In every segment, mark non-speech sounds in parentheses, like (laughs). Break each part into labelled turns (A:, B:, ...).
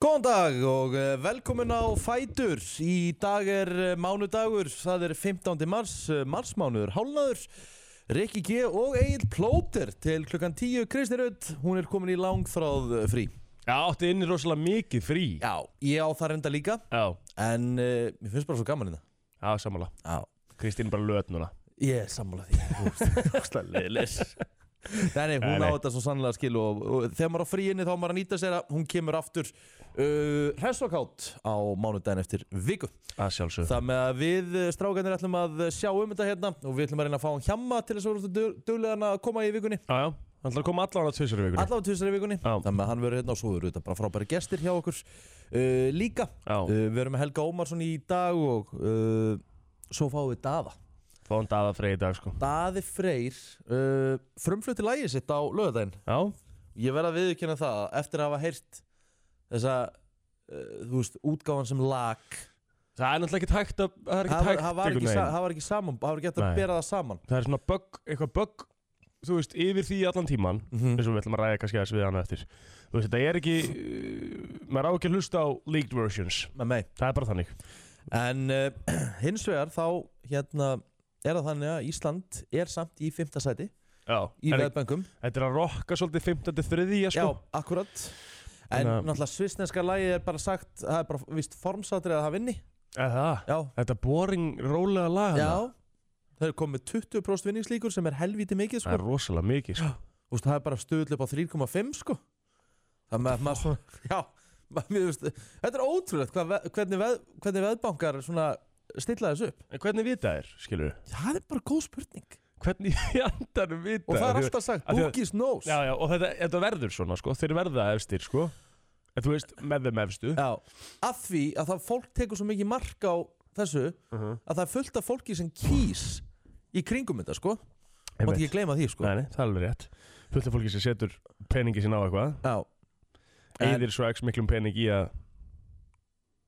A: Góðan dag og eh, velkomin á Fætur. Í dag er eh, mánudagur, það er 15. mars, eh, marsmánuður, hálnaður. Rikki G og Egil Plóter til klukkan 10. Kristi Rudd, hún er komin í langþráð eh, frí.
B: Já, átti inni rosalega mikið frí
A: Já, ég á það reynda líka,
B: Já,
A: en uh, mér finnst bara svo gaman hérna.
B: já sammála
A: Já.
B: Kristín er bara löt núna
A: Ég er sammála því.
B: Leilis
A: (laughs) Nei, nei, hún
B: Nei, nei.
A: á þetta svo sannlega skil og, og þegar maður á fríinni þá á maður að nýta sér að hún kemur aftur uh, hressokátt á mánudaginn eftir viku.
B: (laughs) Að sjálfsög
A: Það með að við eh, strákarnir ætlum að eh, sjá um þetta hérna og við ætlum að reyna að fá hann hjamma til þess að voru duglegan að koma í vikunni
B: Já, já, hann ætlar að koma allan að tvisar í vikunni
A: allavega tvisar í vikunni
B: Já.
A: það með að hann verður hérna og svo eru þetta bara frábæri gestir hjá okkur uh, líka
B: Já.
A: uh, við erum með Helga Ómarsson í dag og uh, svo fáum við Daða
B: Fá hann daða freyði í dag sko
A: Daði Freyr uh, frumflutti lægið sitt á lögadaginn
B: Já,
A: ég verð að viðurkenna það að eftir að hafa heyrt þessa uh, þú veist útgáfan sem lag
B: það er náttúrulega ekki hægt að Það er
A: það
B: ekki
A: var,
B: hægt
A: það var,
B: einhvern
A: ekki, sa-
B: veginn.
A: það var ekki saman það var ekki hægt
B: Nei.
A: að bera það saman
B: Það er svona bögg, eitthvað bögg Þú veist, yfir því allan tíman eins og við ætlum að ræða kannski aðeins við hann á eftir Þú veist, þetta er ekki uh, Maður á ekki að hlusta á leaked versions
A: með mig
B: Það er bara þannig
A: En uh, (clears throat) hins vegar þá hérna, er það þannig að Ísland er samt í fymta sæti
B: Já,
A: í
B: er,
A: veðböngum.
B: þetta er að rokka svolítið 15. þriðja
A: Já,
B: sko
A: akkurat. En
B: Þannig að-
A: náttúrulega svissneska lagið er bara sagt, það er bara vist formsatrið að það vinni.
B: Eða það,
A: Já,
B: þetta boring rólega lag
A: já. Það er komið 20% vinningslíkur sem er helvítið mikið
B: Það
A: sko.
B: er rosalega mikið sko.
A: Þú veist, það er bara stöðl upp á 3,5 sko. Það með maður svona, (laughs) já, maður, mér veist, þetta er ótrúlegt hvað, veð- hvernig, veð, hvernig veðbankar svona stilla þessu upp.
B: En hvernig vita þér, skilur við?
A: Það er bara góð spurning.
B: Hvernig (laughs) í andanum vita
A: Og það er
B: Því-
A: alltaf sagt,
B: af því að-
A: bookies knows.
B: Já, já, og þetta, þetta verður svona, sko Þeir verða efstir, sko En þú veist, með þeim efstu
A: Já, að því að það fólk tekur svo mikið mark á þessu að það er fullt af fólki sem kýs í kringum þetta sko
B: Einmitt.
A: Mátt ekki gleyma því sko
B: Nei, nei, það er alveg rétt Fullt af fólki sem setur peningi sín á eitthvað
A: Já, En-
B: Eðir svo ekki miklum pening í að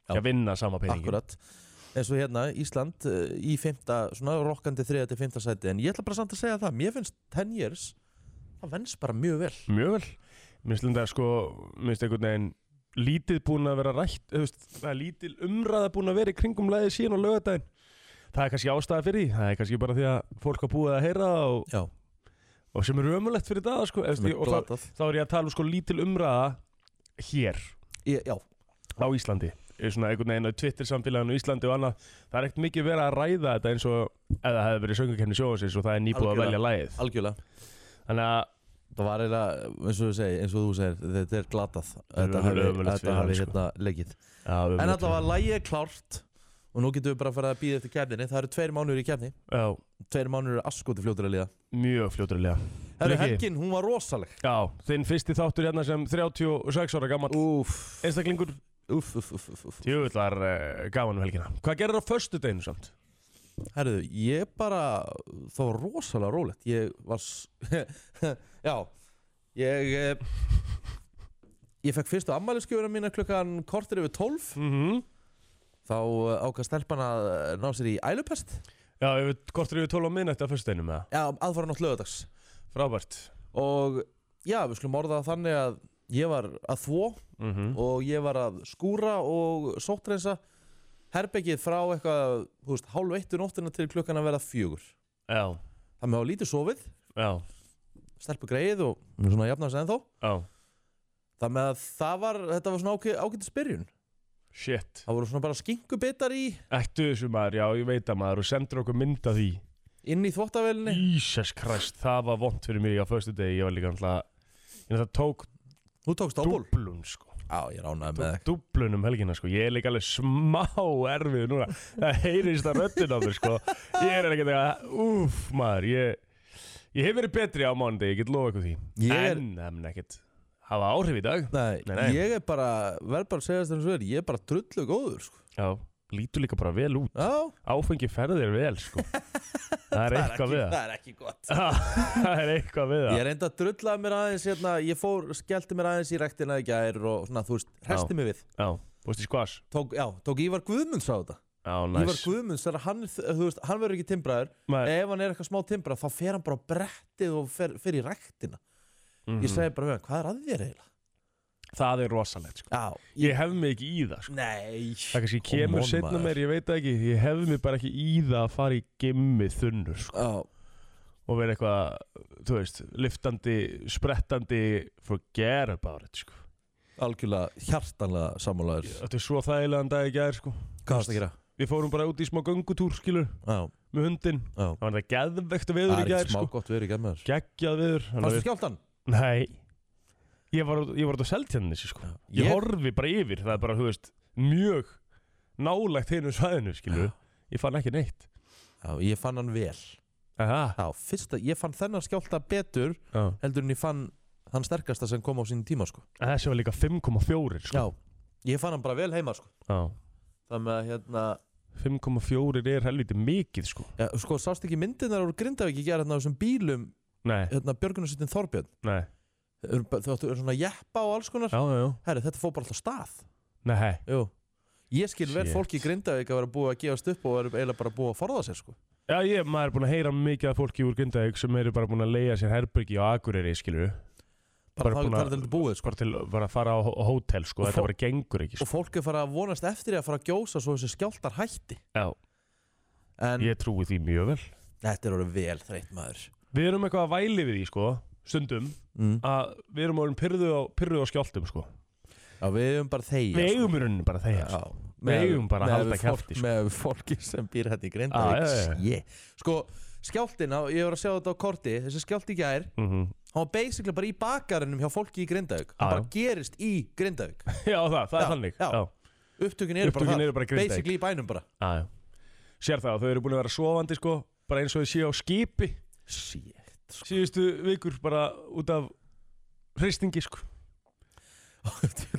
A: Já.
B: í að vinna sama peningi
A: akkurat eins og hérna Ísland eh, í fymta, svona rokkandi þriða til fymta sæti en ég ætla bara samt að segja það, mér finnst 10 years það vennst bara mjög vel
B: Mjög vel Mér finnst þetta, sko, mér finnst einhvern veginn Lítið búin að vera rætt þú veist, Það er lítil umræða búin að vera í kringum Læðið síðan og lögadaginn Það er kannski ástæða fyrir því, það er kannski bara því að fólk hafa búið að heyra það og,
A: Já,
B: og sem er ömulegt fyrir það sko, eftir,
A: sem er
B: og þá,
A: glatað
B: þá er ég að tala um sko lítil umræða hér
A: Ég- Já,
B: á Íslandi Eh, svona einhvern veginn á Twitter samfélaginu á Íslandi og annað það er ekkert mikið verið að ræða þetta eins og eða það hefði verið söngukenni sjóðansins og það er nýbúið að
A: Algjörlega.
B: velja lagið
A: algjörlega
B: þannig að
A: Það var eiginlega, eins og þú segir, eins og þú segir þetta er glatað, þetta
B: verður
A: hafi,
B: ömurlegt
A: þetta
B: fyrir hann,
A: hafi
B: sko.
A: hérna leikið
B: já, við
A: En
B: verðum
A: allavega lægið er klárt og nú getum við bara að fara að býða eftir kefninni Það eru tveir mánuður í kefni
B: að- já,
A: Tveir mánuður eru askoti fljótur að liða
B: mjög fljóturlega
A: Herru,
B: Rikki.
A: helgin, hún var rosaleg
B: já, þinn fyrsti þáttur hérna sem 36 ára gammal
A: Úf,
B: einstaklingur
A: úf, úf, úf, úf, úf.
B: djúvillar uh, gaman um helgina hvað gerir á föstudeginu samt?
A: Herru, ég bara, það var rosalega rólegt Ég var, s- (laughs) já, ég, eh, ég fekk fyrstu ammæliskefuna mína klukkan kortir yfir 12
B: Mm -hmm.
A: Þá eh, ákvað stelpan að eh, ná sér í ælupest
B: já, yfir, hvort eru við 12 á minnætti á föstudeginu með það?
A: Já, aðfara nátt lögadags
B: frábært
A: Og já, við skulum orða það þannig að ég var að þvó
B: mm -hmm.
A: og ég var að skúra og sóttrensa herbergið frá eitthvað, þú veist, hálf eittu nóttina til klukkan að vera fjögur.
B: já,
A: Það með á lítið sofið,
B: já,
A: stelpu greið og svona jafnast ennþá.
B: já
A: Það með að það var, þetta var svona ágæ, ágætis byrjun.
B: Shit
A: Það voru svona bara skinkubitar í,
B: Ættu þessu maður, já ég veit að maður og sendur okkur mynd af því
A: inn í þvóttavelinni.
B: Jesus Christ, það var vond fyrir mér á föstu degi, ég var líka alltaf Ég náttúrulega tók
A: Þú tókst ából.
B: dublun sko
A: Já, ég ránaði með
B: Tók
A: það.
B: dublun um helgina sko, ég er líka alveg smá erfið núna Það heyrist að röddun á mér sko Ég er ekki að, úf maður, ég Ég hef verið betri á mánuði, ég get lofa ykkur því
A: Ég er-
B: En, en ekkert, hafa áhrif í dag
A: Nei,
B: Nei, nei.
A: ég er bara, verð bara að segja þess að það er, ég er bara drullu góður, sko.
B: Já, lítur líka bara vel út
A: Já,
B: Áfengi ferðir vel
A: (laughs)
B: sko Það er eitthvað við það
A: það er ekki gott.
B: (laughs) Það er eitthvað við það
A: Ég reyndi að drulla mér aðeins hérna, ég fór, skellti mér aðeins í rektina í gær og svona, þú veist, resti mig við.
B: Já, búist í squash
A: Tók, já, tók Ívar Guðmunds á þetta.
B: Já,
A: Ívar
B: næs
A: Guðmunds, þegar hann, er- þú veist, hann verður ekki timbraður.
B: Maður-
A: Ef hann er eitthvað smá timbrað, þá fer hann bara á brettið og fer, fer í rektina.
B: Mhm.
A: Ég segi bara, við hann, hvað er að þér eiginlega?
B: það er rosalegt sko.
A: Já,
B: ég hef mig ekki í það sko.
A: nei
B: það kannski kemur
A: on,
B: setna
A: maður.
B: mér, ég veit það ekki ég hef mig bara ekki í það að fara í gimmi þunnur sko.
A: Já,
B: og vera eitthvað, þú veist liftandi, sprettandi forget about it sko.
A: algjörlega hjartanlega sammálaður
B: þetta er svo þægilegan dag í gær sko.
A: Hvað varst að gera?
B: við fórum bara út í smá göngutúr skilur
A: Já,
B: með hundin,
A: já
B: það var það geðvegt
A: Það
B: viður í
A: er
B: gær
A: ekki smá
B: sko.
A: gott verið ekki að með þér
B: geggjað viður þannig að
A: Varstu
B: við-
A: skjáltan?
B: nei, ég var, út- ég var út á seltjarnis sko. ég,
A: Ég-
B: horfi bara yfir, það er bara, þú veist mjög nálægt hinu svæðinu skilur, ég fann ekki neitt
A: Já, ég fann hann vel
B: Aha.
A: Já, fyrsta, ég fann þennan skjálta betur
B: Já.
A: heldur en ég fann hann sterkasta sem kom á sínum tíma sko.
B: En þessi var líka 5,4 sko.
A: Já, ég fann hann bara vel heima sko.
B: Já.
A: Það með að hérna
B: 5,4 er helviti mikið sko.
A: ja, Sko, sást ekki myndirnar úr Grindavík í gera hérna á þessum bílum
B: Nei,
A: hérna Björgunarsittin Þorbjörn
B: nei
A: Þau eru bara- Þau áttu eru svona jeppa og alls konar
B: Já, já, já
A: Herri, þetta fór bara alltaf stað
B: Nei,
A: Jú. Ég skil vel
B: Shit.
A: fólk í Grindavík að vera búið að gefast upp og vera eiginlega bara búið að forða sér sko.
B: já ég, maður er búin að heyra mikið af fólki úr Grindavík sem eru bara búin að leiða sér herbergi og akureyri, skilur
A: Bara,
B: Bara
A: bara
B: búin
A: það
B: að-
A: er þetta búið sko.
B: bara til bara að fara á hó- hótel sko,
A: Og fó-
B: þetta bara gengur ekki
A: Og
B: sko.
A: fólk er fara að vonast eftir því að fara að gjósa svo þessi skjáltar hætti
B: Já,
A: En
B: ég trúi því mjög vel
A: þetta er orðið vel þreytt maður
B: Við erum eitthvað að væli við því, sko, stundum
A: mm.
B: að við erum orðin pyrruð á, pyrruð á skjáltum, sko
A: Já, við eigum bara þegja
B: Við
A: sko.
B: eigum í rauninni bara þegar,
A: Já,
B: sko eigum bara að
A: með
B: halda
A: við fólk-
B: kjafti, sko.
A: Með við fólki sem býr hérna í
B: Já, já,
A: Grindavík
B: já.
A: yeah. Sko, skjáltin, á- ég var að sjá þetta á korti Þessi skjálti í gær,
B: Mhm. (laughs)
A: hann var basically bara í bakarinnum hjá fólki í Grindavík
B: Já,
A: Hann bara
B: já.
A: gerist í Grindavík
B: Já, það, það
A: Já,
B: er þannig
A: já.
B: Já.
A: Upptökin eru bara
B: Upptökin
A: þar,
B: eru bara í Grindavík.
A: Basically í bænum bara
B: Já, já. Sér það að þau eru búin að vera sofandi sko, bara eins og þau séu á skipi
A: Shit sko.
B: síðustu vikur bara út af hristingi sko.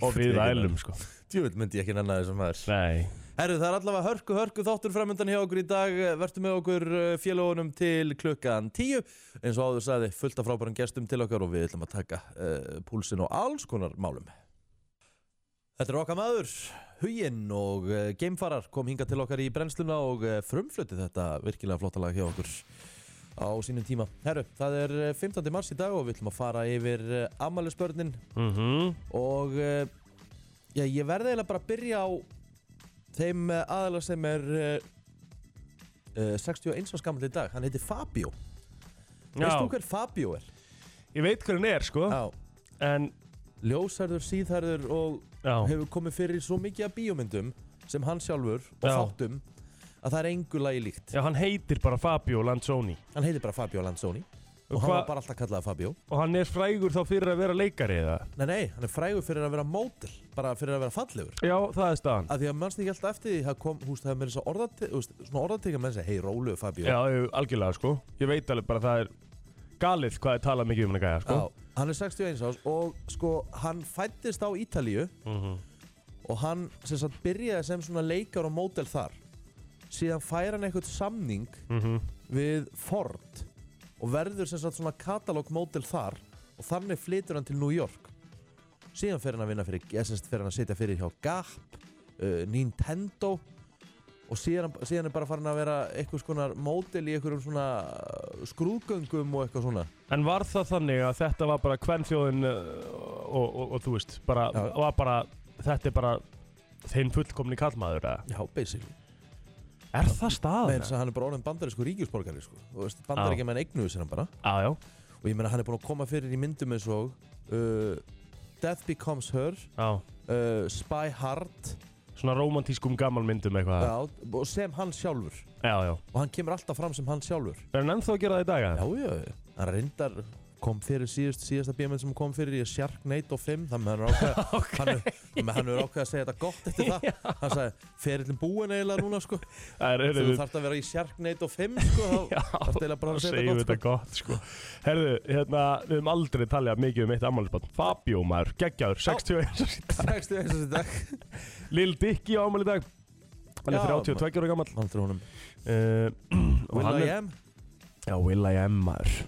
B: og við ælum sko.
A: Djúvill myndi ég ekki nanna þessum maður
B: Nei.
A: Herru, það er allavega hörku, hörku þáttur framöndan hjá okkur í dag Vertu með okkur eh, félagunum til klukkan 10 eins og áður sagði, fullt af frábærum gestum til okkar og við ætlum að taka uh, púlsin og alls konar málum Þetta er okkar maður Huginn og uh, Gamefarar kom hinga til okkar í brennsluna og uh, frumflutti þetta virkilega flotta lag hjá okkur á sínum tíma. Herru, það er eh, 15. mars í dag og við ætlum að fara yfir uh, ammælisbörnin
B: Mm
A: og uh, já, ég verði eiginlega bara að byrja á þeim uh, aðala sem er uh, uh, 61 árs gammal í dag, hann heitir Fabio veist þú
B: Já,
A: hver Fabio er?
B: ég veit hvað hann er sko,
A: Já,
B: en
A: ljósarður, síðharður og
B: já,
A: hefur komið fyrir í svo mikið af bíómyndum sem hann sjálfur og
B: Já.
A: þáttum að það er engu lagi líkt
B: já, hann heitir bara Fabio Lanzoni
A: hann heitir bara Fabio Lanzoni og,
B: Og
A: hann
B: hva-
A: var bara alltaf kallað Fabio
B: og hann er frægur þá fyrir að vera leikari eða?
A: nei, nei, hann er frægur fyrir að vera mótil bara fyrir að vera fallegur
B: Já, það er staðan.
A: að því að mannst ekki alltaf eftir því það kom, húst, það er mér þess að orðate- þú veist, svona orðatekja menn segja, hei, rólu, Fabio
B: Já, ég- algjörlega sko. Ég veit alveg bara að það er galið hvað er talað mikið um hann að gæja sko.
A: Já, hann er 61 árs og sko hann fættist á Ítalíu
B: Mhm.
A: og hann sem sagt byrjaði sem svona leikar og mótel þar síðan fær hann eitthvað samning
B: Mhm.
A: við Ford og verður sem sagt svona katalog mótel þar og þannig flytur hann til New York síðan fer hann að vinna fyrir ég sem sagt fer hann að sitja fyrir hjá Gap uh, Nintendo og síðan, síðan er bara farin að vera eitthvað konar mótel í eitthvað svona uh, skrúðgöngum og eitthvað svona
B: En var það þannig að þetta var bara kvennþjóðin uh, og, og, og þú veist, bara,
A: Já.
B: var bara, þetta er bara þeim fullkomni kallmaður eða?
A: já, basically
B: Er það
A: Meira
B: staðan?
A: þess að hann er bara orðin bandarísku ríkjusborgari sko. Þú veist, bandaríkja menn eignuðu sér hann bara
B: Já, já,
A: og ég meina hann er búin að koma fyrir í myndum eins og uh, Death Becomes Her
B: já.
A: uh, Spy Hard
B: Svona romantískum gammalmyndum eitthvað.
A: já, og sem hann sjálfur
B: Já, já.
A: og hann kemur alltaf fram sem hann sjálfur
B: Er hann ennþá að gera það í dag? eða?
A: já, já, já. hann reyndar kom fyrir síðust, síðasta bíómynd sem hann kom fyrir í Sharknado 5 þannig að hann er ákveð
B: (laughs) Ok.
A: hann, er- þannig að hann er ákveð að segja þetta gott eftir það hann sagði, ferillin búin eiginlega núna sko.
B: Það er,
A: þú
B: heyrðu,
A: þarf að vera í Sharknado 5 sko, þá
B: (laughs) já,
A: þarf eiginlega bara
B: það
A: að segja
B: segjum
A: þetta
B: þetta
A: gott sko.
B: gott, sko. Herðu, hérna, við höfum aldrei talið mikið um eitt ammálsbann. Fabio maður, geggjaður, 61 árs í dag.
A: 61 árs í dag
B: Lil Dicky á ammál í dag. Hann er
A: Já,
B: 32 ára gammal.
A: Aldrei honum
B: Uh, og
A: Will
B: hann
A: I
B: er-
A: am
B: Já, Will I Am maður.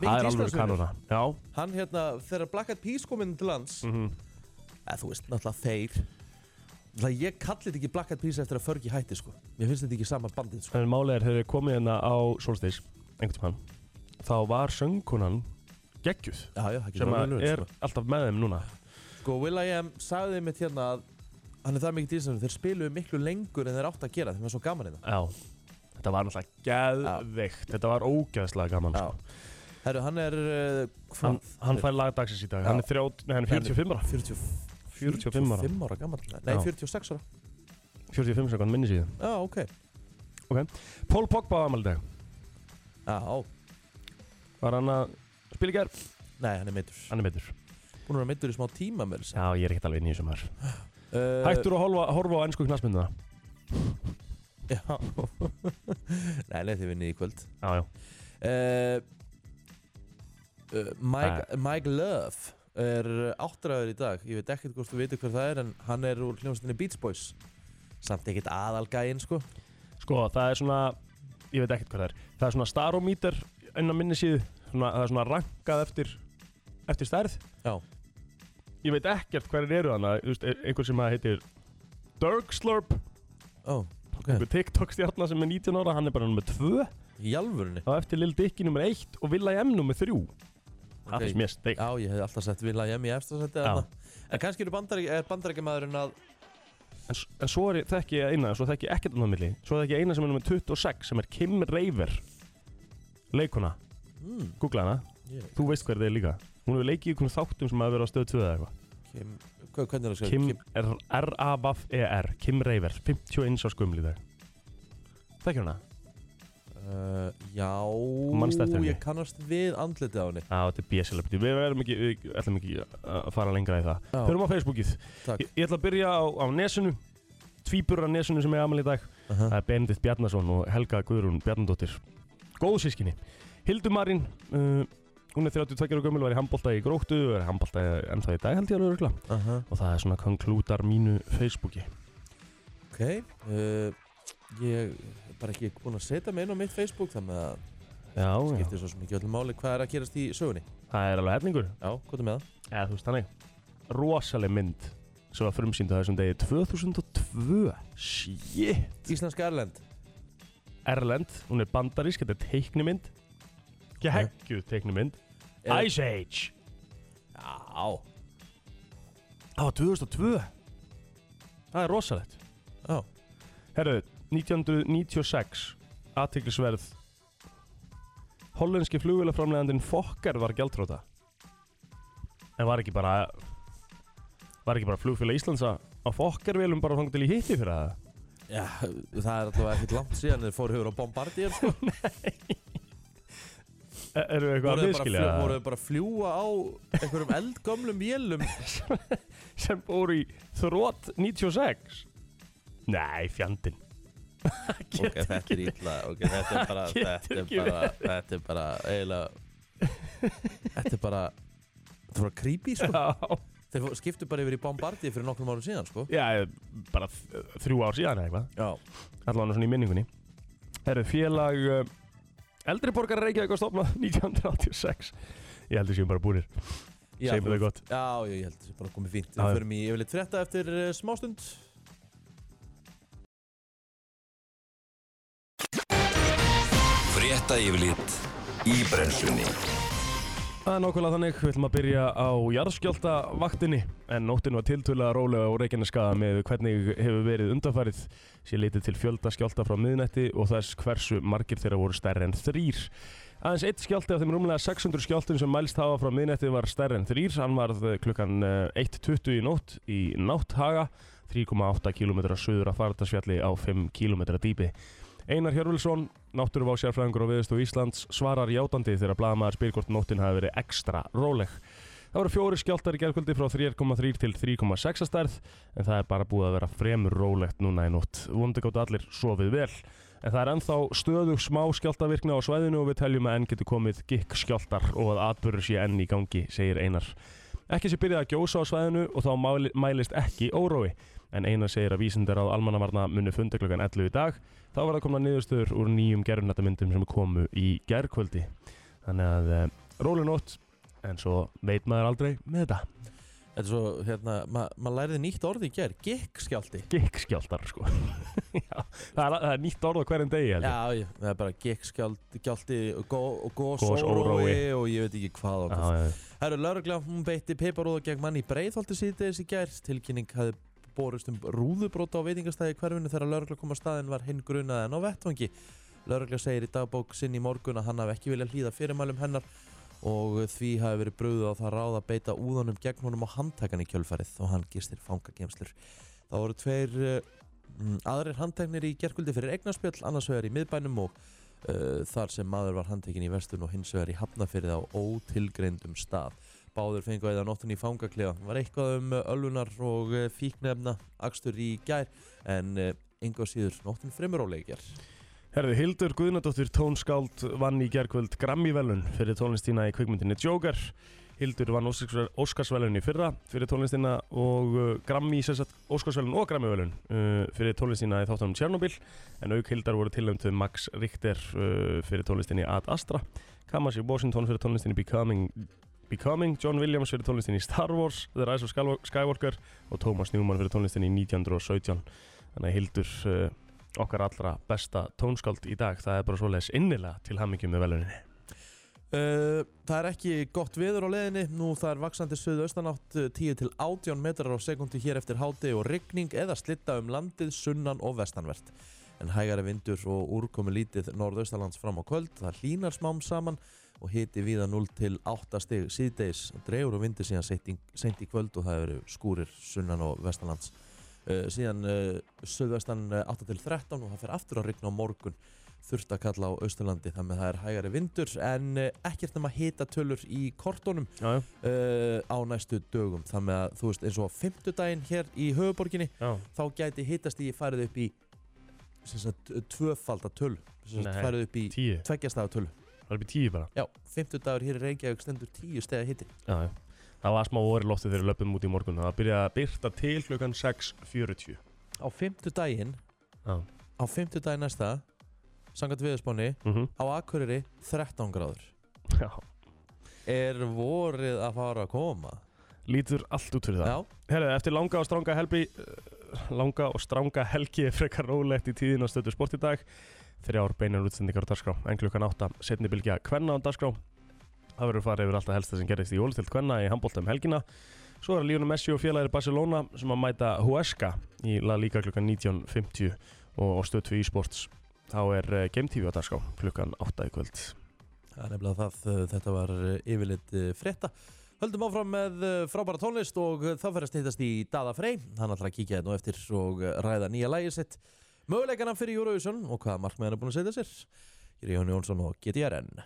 B: Það er alveg
A: Íslandsvinur.
B: kanona Já
A: Hann hérna, þegar Black Eyed Peas kominn til lands
B: mm
A: eða þú veist, náttúrulega þeir Náttúrulega ég kalli þetta ekki Black Eyed Peas eftir að Fergie hætti sko Mér finnst þetta ekki sama bandið sko
B: En málið er þegar ég komið hérna á Solstis einhvern tímann þá var söngkunan geggjuð
A: Já, já, það
B: sem
A: getur
B: að
A: alveg verið,
B: er alltaf með þeim núna
A: Sko, Will.i.am sagði mitt hérna að hann er það mikið dísanum, þeir spiluðu miklu lengur en þeir átt að gera, þeim var svo gaman hérna.
B: Já, þetta var náttúrulega geðveikt, þetta var ógeðslega gaman sko.
A: Já. Herru, hann er, uh, hvað?
B: hann, hann fær lagdagsins í dag, hann er, þrjá, nei, hann er 45 ára
A: 40,
B: 45 ára,
A: 45 ára gammal, nei,
B: Já.
A: 46 ára.
B: 45 sekund minni síðan
A: Já, ok.
B: Pól Pogba á afmæli í dag,
A: Já, á.
B: var hann að spila í gerð,
A: nei, hann er meittur.
B: hann er meittur
A: Hún er meittur í smá tíma með þess.
B: Já, ég er ekkert alveg inn í þessum þar
A: Uh,
B: Hættur að horfa, horfa á ennsku knastmynduna
A: Já. (laughs) nei, nei, þið vinnið í kvöld.
B: Já, já,
A: Uh, uh, Mike, Mike Love er áttræður í dag ég veit ekkert hvort þú veitir hver það er en hann er úr hljómsveitinni Beach Boys samt ekkert aðalgæinn sko
B: sko það er svona ég veit ekkert hvað það er, það er svona starometer inn á minni síðu, svona, það er svona rankað eftir, eftir stærð
A: Já.
B: Ég veit ekkert hverjir eru þannig, þú veist, e- einhver sem að heitir Dirkslurp
A: Ó, ok
B: einhver TikTok-stjarnar sem er 19 ára, hann er bara nummer 2
A: í alvörunni
B: á eftir Lil Dicky nummer 1 og Villa M nummer 3 Það finnst mér steik
A: Já, ég hef alltaf sett Villa Jem í efstasætti
B: Já.
A: en kannski eru bandarík, er bandaríkjamaðurinn að
B: en, s- en svo er, ég- þekki ég eina, svo þekki ég ekkert annað milli Svo þekki ég eina sem er nummer 26 sem er Kim Raver Leikuna,
A: mm,
B: googla hana
A: ég,
B: Þú veist hver þið er líka Hún hefur leikið í einhverjum þáttum sem hafa verið á stöð 2 eða eitthvað
A: Kim, hvað, hvernig er það
B: Kim
A: skrifað?
B: R- R-A-V-E-R Kim Raver, 51 á skumli dag Þekki hana?
A: Uh,
B: Manstu eftir
A: já,
B: henni?
A: ég kannast við andlitið á henni
B: Já, þetta er bjössilegt Við verðum ekki, við ætlum ekki að fara lengra í það
A: Já,
B: Förum á Facebookið
A: takk
B: Ég, ég ætla að byrja á, á nesunu Tvíburur á nesunu sem er amal í dag
A: Aha.
B: Það er Benedikt Bjarnason og Helga Guðrún Bjarnadóttir Góðu sískinni Hildumarinn uh, Hún er 32 ára gömul, var í handbólta í gróttu Er handbólta ennþá í dag held ég alveg örgla
A: Aha.
B: Og það er svona konklútar mínu Facebooki
A: Ok, uh, ég er bara ekki búinn að setja mig inn á mitt Facebook þannig að
B: Já, já
A: skiptir svo sem ekki öllum máli hvað er að gerast í sögunni.
B: Það er alveg hefningur
A: Já, hvað er með það?
B: Eða þú veist þannig Rosaleg mynd Sem var frumsýnd á þessum degi 2002 Shit
A: Íslenska Erlend.
B: Erlend, hún er bandarísk, þetta er teiknimynd Gekkjuð teiknimynd
A: Er-
B: Ice Age
A: Já,
B: Það var 2002 Það er rosalegt
A: já,
B: Herru, 1996 Athyglisverð Hollenski flugvélaframlegandinn Fokker var gjaldróta En var ekki bara Var ekki bara flugfélag Íslands að að Fokker velum bara þangt til í hitti fyrir það
A: já, það er allavega ekkert langt síðan þeir fóru yfir á Bombardier
B: (laughs)
A: sko.
B: E- Eru eitthvað
A: Voru
B: að
A: þeir bara
B: miskilja
A: fljúga- voru þeir bara að fljúa á einhverjum eldgömlum
B: (laughs)
A: vélum.
B: sem fór í þrótt 96 Nei, fjandinn
A: ok, þetta er illa, ok, þetta er bara, þetta er bara, þetta er bara, eiginlega, þetta er bara, þetta er bara creepy sko.
B: (laughs) Já,
A: Þeir fó- skiptu bara yfir í Bombardier fyrir nokkrum árum síðan sko.
B: já, bara þ- þrjú ár síðan eða eitthvað
A: Já.
B: allavega svona í minningunni Herru, félag uh, eldri borgar Reykjavík var stofnað 1986 Ég heldur séum bara búinir,
A: Já,
B: segjum það gott
A: Já, já, ég held að það er bara komið fínt.
B: Já, já.
A: Við förum í yfirleitt frétta eftir uh, smástund.
C: Frétta yfirlit í brennslunni
B: Það er nákvæmlega þannig, við ætlum að byrja á jarðskjálta vaktinni en nóttin var tiltölulega rólega á Reykjaneskaða með hvernig hefur verið undanfarið sér litið til fjölda skjálta frá miðnætti og þess hversu margir þeirra voru stærri en þrýr Aðeins eitt skjálti af þeim rúmlega 600 skjáltum sem mælst hafa frá miðnætti var stærri en þrýr. Hann varð eh, klukkan eh, 1.20 í nótt í Nátthaga, 3,8 km söður að Fardasfjalli á 5 km dýpi. Einar Hjörvilsson, náttúruvá sérfræðingur á viðstofu Íslands, svarar játandi þegar blaðamaður spyr hvort nóttin hafi verið ekstra róleg. Það voru fjóri skjáltar í gerðkvöldi frá 3,3 til 3,6 að stærð, en það er bara búið að vera fremur rólegt núna í nótt. Vonandi gáttu allir sofið vel. En það er ennþá stöðug smá skjáltavirkna á svæðinu og við teljum að enn getur komið gikk skjáltar og að atbörur sé enn í gangi, segir Einar. Ekki sé byrjað að gjósa á svæðinu og þá máli- mælist ekki órói. En Einar segir að vísindar á almannavarna muni funda klukkan 11 í dag. Þá var það komna niðurstöður úr nýjum gerfnættamyndum sem komu í gerðkvöldi. Þannig að e, rólu nótt, en svo veit maður aldrei með þetta.
A: Þetta er svo, hérna, ma- maður læriði nýtt orð í gær, gikk skjálti.
B: Gikk skjáltar, sko. (laughs) það, er, það er nýtt orð á hverjum degi heldur.
A: Já, ég, það er bara gekkskjálti og
B: Gos-
A: gósórói
B: órói.
A: og ég veit ekki hvað og
B: Já,
A: hvað.
B: já, já.
A: Herru, laurugla, hún beitti piparúða gegn manni í breiðholti síðdegis í gær. Tilkynning hafði borist um rúðubróta á veitingastæði í hverfinu þegar laurugla kom á staðin var hinn grunaði en á vettvangi. Laurugla segir í dagbók sinn í morgun að hann hafi ekki viljað hlýða fyrirmælum hennar og því hafi verið brúðið á það ráð að beita úðanum gegn honum á handtakan í kjölfarið og hann gistir fangagemslur. Það voru tveir eh, mm, aðrir handteknir í gerkvöldi fyrir eignarspjöll, annars vegar í miðbænum og uh, þar sem maður var handtekinn í vestun og hins vegar í hafnafyrði á ótilgreindum stað. Báður fengu eða nóttin í fangaklefa. Var eitthvað um eh, ölvunar og eh, fíknefna akstur í gær en uh, enga síður nóttin fremur óleikjar.
B: Herði, Hildur Guðnadóttir tónskáld vann í gerkvöld Grammy-velun fyrir tónlistina í kvikmyndinni Joker. Hildur vann Óskarsvel- Óskarsvelun í fyrra fyrir tónlistina og uh, Grammy, sem sagt, Óskarsvelun og Grammy-velun uh, fyrir tónlistina í þáttunum Tjernobyl. En auk Hildar voru tilnæmtuð Max Richter uh, fyrir tónlistinni Ad Astra, Kamasi Washington fyrir tónlistinni Becoming, Becoming, John Williams fyrir tónlistinni Star Wars, The Rise of Skywal- Skywalker og Thomas Newman fyrir tónlistinni 1917. Þannig að Hildur... Uh, okkar allra besta tónskáld í dag það er bara svoleiðis innilega til hamingjum með veluninni
A: Uh, það er ekki gott viður á leiðinni, nú það er vaksandi suðaustanátt eh, 10 til 18 metrar á sekundi hér eftir háti og rigning eða slitta um landið sunnan og vestanvert. En hægari vindur og úrkomi lítið norðaustalands fram á kvöld, það hlínar smám saman og hiti viða 0 til 8 stig síðdeis, dregur og vindur síðan seint í, seint í kvöld og það eru skúrir sunnan og vestanlands. Uh, síðan uh, suðaustan eh, 8 til 13 og það fer aftur að rigna á morgun þurft að kalla á Austurlandi þannig að það er hægari vindur en eh, ekkert nema hita tölur í kortónum
B: já, já.
A: uh, á næstu dögum þannig að þú veist eins og á fimmtudaginn hér í höfuborginni
B: Já.
A: þá gæti hitast í farið upp í sem sagt tvöfaldatöl sem sagt
B: Nei.
A: farið upp í
B: tíu,
A: tveggjastafatöl
B: það er upp í tíu bara
A: já, fimmtudagur hér í Reykjavík stendur tíu stega hiti
B: já, já. það var smá orði loftið þegar við löpum út í morgun það byrjaði að byrta til klukkan 6.40
A: á fimmtudaginn
B: Já.
A: á fimmtudaginn næsta sangat viðspáni
B: mm -hmm.
A: á Akureyri 13 gráður
B: já,
A: er vorið að fara að koma
B: lítur allt út fyrir það
A: já,
B: Herðu, eftir langa og stranga helgi eh, langa og stranga helgi er frekar rólegt í tíðin að stöðu sport í dag þrjár beinar útsendingar á dagskrá en klukkan 8, setni bylgja kvenna á dagskrá það verður farið yfir alltaf helsta sem gerist í jólistild kvenna í handbóltum helgina svo er Lionel Messi og félagir Barcelona sem að mæta Huesca í La Liga klukkan 19.50 og stöðu í sports þá er eh, Game TV á dagskrá klukkan 8 í kvöld
A: Það er nefnilega það, uh, þetta var uh, yfirleitt uh, frétta. Höldum áfram með uh, frábæra tónlist og uh, þá fer að stýttast í Dada Frey. Hann ætlar að kíkja þetta nú eftir og uh, ræða nýja lægi sitt. Möguleikana fyrir Eurovision og hvaða markmiðan er búin að setja sér. Ég er Jón Jónsson og GTRN.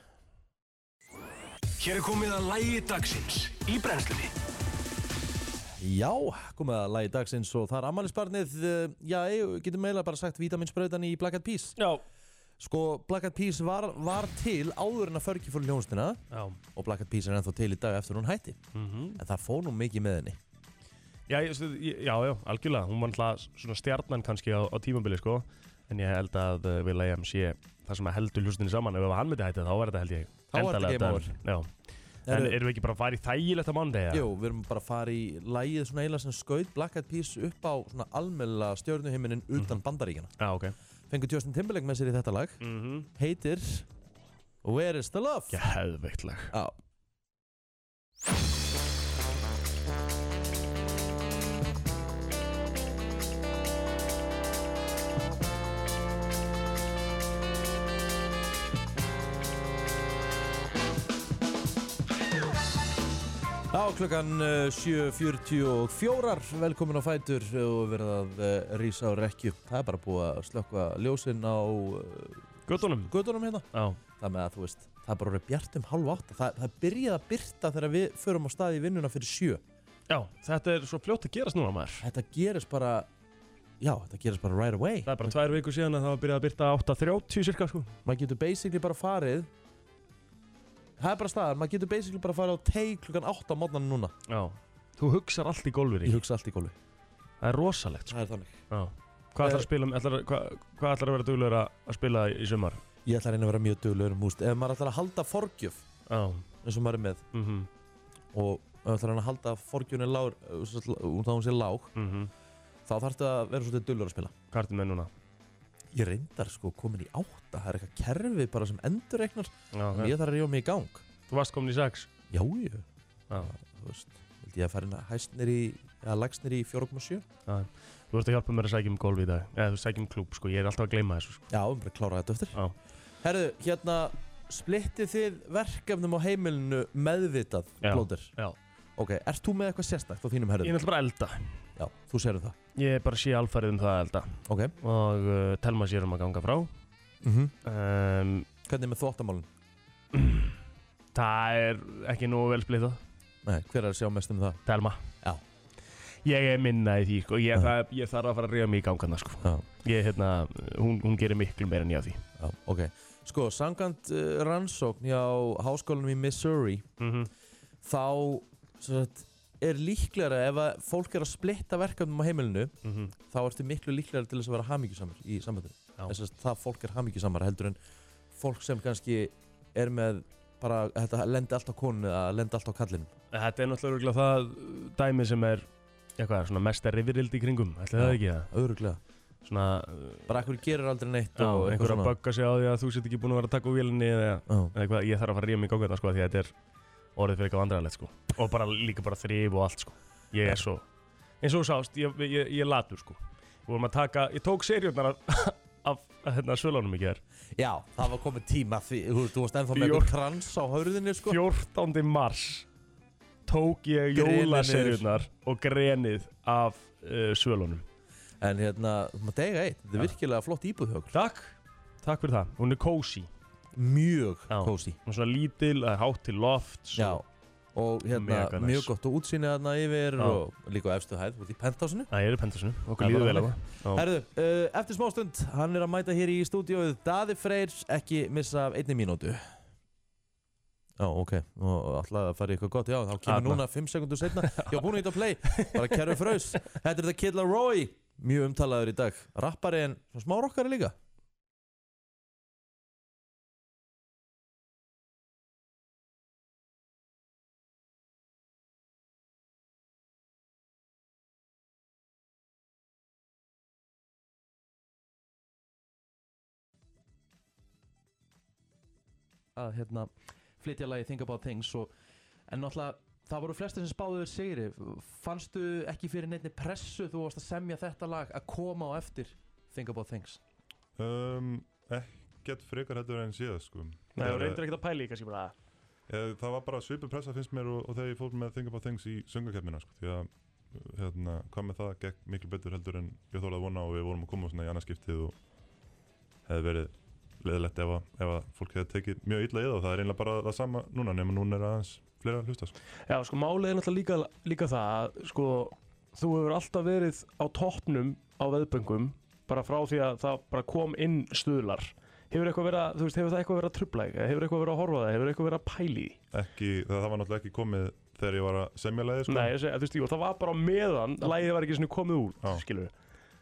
C: Hér er komið að lægi dagsins í brennslunni
A: Já, komið að lægi dagsins og það er ammælisbarnið. Uh, já, eigum- getum eiginlega bara sagt vítaminsbrautan í Black Eyed Peas.
B: Já,
A: Sko, Black Eyed Peas var, var til áður en að förki fór í hljónstina
B: já
A: og Black Eyed Peas er ennþá til í dag eftir hún hætti.
B: Mhm.
A: En það fór nú mikið með henni.
B: Já, ég, stu- ég- já, já, algjörlega, hún var náttúrulega svona stjarnan kannski á, á tímabili sko En ég held að uh, Will I.M. sé það sem að heldur hlustinni saman Ef hann myndi hætti þá var þetta held ég
A: Þá var þetta
B: endanlega
A: game
B: dæmd. Já, en erum við ekki bara að fara í þægilegt á mándi?
A: Jú, við erum bara að fara í lægið svona eiginlega sem skaut Black Eyed Peas upp á svona almela stjörnuhiminin utan bandaríkjana.
B: Já, ok
A: Fengur Justin Timberlake með sér í þetta lag,
B: mm -hmm.
A: heitir Where is the Love?
B: Geðveikt lag
A: Já. Á klukkan eh, 7.44, velkomin á Fætur og verið að eh, rísa á rekju. Það er bara búið að slökka ljósin á
B: Götunum
A: gödunum hérna
B: Já,
A: það með að þú veist, það er bara orðið bjart um halv átta það, það byrjaði að byrta þegar við förum á staði í vinnuna fyrir sjö
B: já, þetta er svo fljótt að gerast núna maður
A: þetta gerist bara já, þetta gerist bara right away
B: Það er bara tvær vikur síðan að það var byrjað að byrta 8.30 cirka sko
A: maður getur basically bara farið það er bara staðar, maður getur basically bara farið á teig klukkan átta á mótnan núna
B: Já Þú hugsar allt í golfið
A: ég
B: í
A: hugsa allt í gólu
B: Það er rosalegt
A: það
B: sko
A: er þannig
B: Já Eh. Hvað ætlar að spila, ætlar, hvað, hvað ætlar að vera duglegur að að spila í sumar?
A: ég ætla að reyna að vera mjög duglegur um húst ef maður ætlar að halda forgjöf
B: Já
A: eins og maður er með
B: mm -hmm.
A: og ef maður ætlar að halda forgjöfni lág, þá hún sé lág
B: mm -hmm.
A: þá þarf þetta að vera svolítið duglegur að spila
B: Hvað ertu með núna?
A: ég reyndar sko komin í átta það er eitthvað kerfi bara sem endur eignar
B: Já,
A: okay. ég þarf að rífa mig í gang
B: Þú varst komin í sex
A: já, já,
B: Já.
A: þú veist held ég að fara inn að hæst nýri eða lagst nýri í 4.7 já,
B: Þú ert að hjálpa mér að sækja um golf í dag Eða þú sækja um klúb, sko, ég er alltaf að gleyma þessu sko.
A: við erum bara að klára þetta eftir
B: Já.
A: herðu, hérna splittið þið verkefnum á heimilinu meðvitað
B: Já,
A: blóður
B: já.
A: ok, ert þú með eitthvað sérstakt á þínum
B: Ég er
A: herðum?
B: alltaf bara að elda
A: já, þú sérum það
B: Ég er bara að sé alfærið um það að elda
A: ok,
B: Og uh, telma sér um að ganga frá
A: Mhm.
B: um,
A: hvernig er með þvóttamálun?
B: (clears throat) Það er ekki nú vel splitað
A: Nei, hver er að sjá mest um það?
B: Telma
A: Já.
B: Ég er minna í því, sko Ég,
A: Já.
B: það, ég þarf að fara að ríða mig í gangana, sko
A: Já.
B: Ég, hérna, hún, hún gerir miklu meira en ég að því
A: Já, ok. Sko, samkvæmt uh, rannsókn hjá háskólanum í Missouri,
B: mm
A: þá sem sagt, er líklegra ef að fólk er að splitta verkefnum á heimilinu,
B: mhm.
A: þá ertu miklu líklegra til þess að vera hamingjusamur í sambandinu.
B: Já.
A: Þess að það fólk er hamingjusamara heldur en fólk sem kannski er með bara, þetta lendi allt á konu eða lendi allt á kallinu.
B: Þetta er náttúrulega örugglega það uh, dæmi sem er eitthvað, svona mesta rifirildi í kringum Ætli það
A: Já.
B: ekki það?
A: Öruglega.
B: Svona,
A: Bara ekkur gerir aldrei neitt
B: já,
A: og
B: einhver að bögga sig á því að þú sétt ekki búin að vera að taka úr vélinni eða,
A: Já,
B: eða eitthvað, ég þarf að fara að ríða mig í gangana sko, af því að þetta er orðið fyrir eitthvað vandræðalegt sko. og bara líka bara þrif og allt sko. ég er svo, eins og þú sást ég, ég, ég, ég er latur sko. Við vorum að taka, ég tók serjurnar af, (laughs) af, af hérna, svölunum í gerð
A: Já, það var komið tíma því, þú veist, þú varst ennþá með
B: Bjór.
A: einhver krans á hörðinni, sko.
B: 14. mars tók ég
A: Grenið niður.
B: jólaserjurnar og grenið af uh, svölunum
A: En hérna, þú maður dega eitt, þetta er
B: Já.
A: virkilega flott íbúð hjá okkur
B: Takk, takk fyrir það, hún er kósi
A: Mjög
B: Já.
A: kósi
B: hún er svona lítil, það er hátt til loft
A: Já Og hérna,
B: Mega næs.
A: mjög gott og útsýnið þarna yfir
B: Já.
A: og líka á efstu hæð, þú ert í penthásinu
B: Það er pentasinu, okkur
A: Það er
B: líður
A: bara
B: vel hérna. á það Já.
A: Herðu, uh, eftir smástund, hann er að mæta hér í stúdíóið Daði Freyr, ekki missa af einni mínútu Já, ok, og alltaf að fara í eitthvað gott Já, þá kemur
B: Þarna.
A: núna 5 sekundur setna Já, búin að hitta play, bara kerfi fraus Þetta er The Kid Laroi, mjög umtalaður í dag Rappari en smá rockari líka að hérna, flytja lagi Think About Things og, en náttúrulega það voru flestir sem spáðuður sigri fannstu ekki fyrir neittni pressu þú varst að semja þetta lag að koma á eftir Think About Things
D: Um, ekkert frekar heldur en síðast sko
B: Nei, þú
D: Eh,
B: reyndir ekkert að pæla í kannski bara
D: eh, Það var bara svipu pressa finnst mér og, og þegar ég fór með Think About Things í söngakeppnina sko Því að hérna, hvað með það gekk miklu betur heldur en ég þólaði að vona og við vorum að koma svona í annarskiptið og hefði verið leðilegt ef, að- ef að fólk hefði tekið mjög illa í það og það er einlega bara það sama núna nema núna er aðeins fleira að hlusta sko
B: Já, sko, málið er náttúrulega líka, líka það að, sko, þú hefur alltaf verið á toppnum á veðböngum bara frá því að það bara kom inn stuðlar Hefur eitthvað verið að, þú veist, hefur það eitthvað verið að trubla þig? Hefur eitthvað verið að horfa á það? Hefur eitthvað verið að pæli því?
D: ekki, það, það var náttúrulega ekki komið þegar ég var að semja leiði sko
B: Nei, ég segi, þú veist, jú, það var bara á meðan, lægið var ekki svona komið út,
D: Já.
B: skilur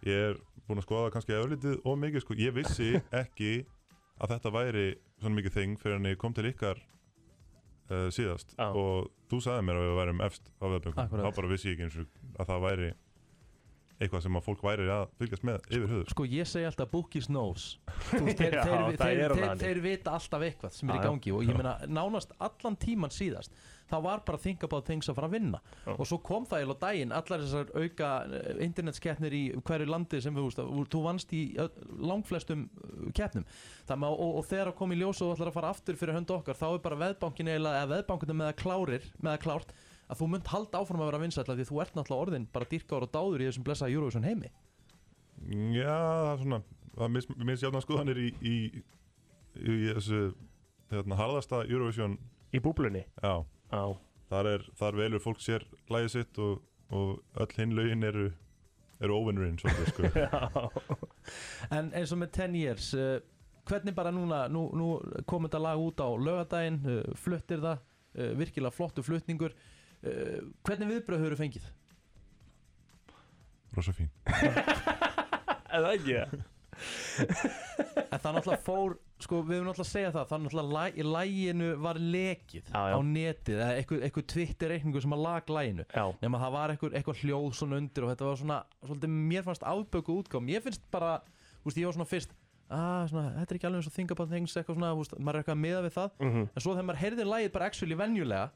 B: við
D: Ég er búinn að skoða kannski öflítið og mikið sko. Ég vissi ekki að þetta væri svona mikið þing fyrir en ég kom til ykkar uh, síðast
B: Já.
D: og þú sagði mér að við værum efst á vefböngum.
A: Akkúrat.
D: Þá bara vissi ég ekki eins og að það væri eitthvað sem að fólk væri að fylgjast með yfir höfuð.
A: Sko ég segi alltaf Bookies knows Þú
B: (laughs)
A: veist,
B: Já, það er
A: þeir,
B: hann
A: þeir,
B: hann.
A: þeir vita alltaf eitthvað sem er
B: Já,
A: í
B: já.
A: gangi og ég meina nánast allan tíman síðast þá var bara Think About Things að fara að vinna
B: Já.
A: og svo kom það eiginlega á daginn allar þessar auka eh, internetskeppnir í hverju landi sem við úrst þú vannst í ö- langflestum eh, keppnum Þannig, að- og, og þegar að kom í ljós og þú ætlar að fara aftur fyrir hönd okkar þá er bara veðbankin eiginlega eða veðbankunum með að klárir með að klárt að þú munt halda áfram að vera vinsætla því þú ert náttúrulega orðin bara dýrkáður og dáður í þessum blessaða Eurovision heimi
D: sko. Já, það er svona, það mis, misjafna skoðanir í, í, í, í þessu hérna, harðasta Eurovision.
B: Í búblunni?
D: Já,
B: Já,
D: þar, er, þar velur fólk sér lægið sitt og, og öll hinn lögin eru, eru óvinnurinn svolítið sko.
A: En eins og með 10 years uh, Hvernig bara núna, nú, nú kom þetta lag út á lögadaginn, uh, fluttir það uh, virkilega flottu flutningur uh, Hvernig viðbröð höfðu fengið?
D: Rosa fín.
B: eða ekki það? (laughs)
A: En það náttúrulega fór, sko við höfum náttúrulega að segja það Það náttúrulega læ, í læginu var lekið
B: Já, já.
A: á netið eða eitthvað, eitthvað Twitter reikningu sem að lag læginu
B: Já,
A: Nefn að það var eitthvað, eitthvað hljóð svona undir og þetta var svona, svolítið mér fannst afböku útgáð Mér finnst bara, þú veist ég var svona fyrst
E: ah, svona, þetta er ekki alveg eins og think about things eitthvað svona, þú veist, maður er eitthvað að miða við það
B: Mhm.
E: en svo þegar maður heyrði lagið bara actually venjulega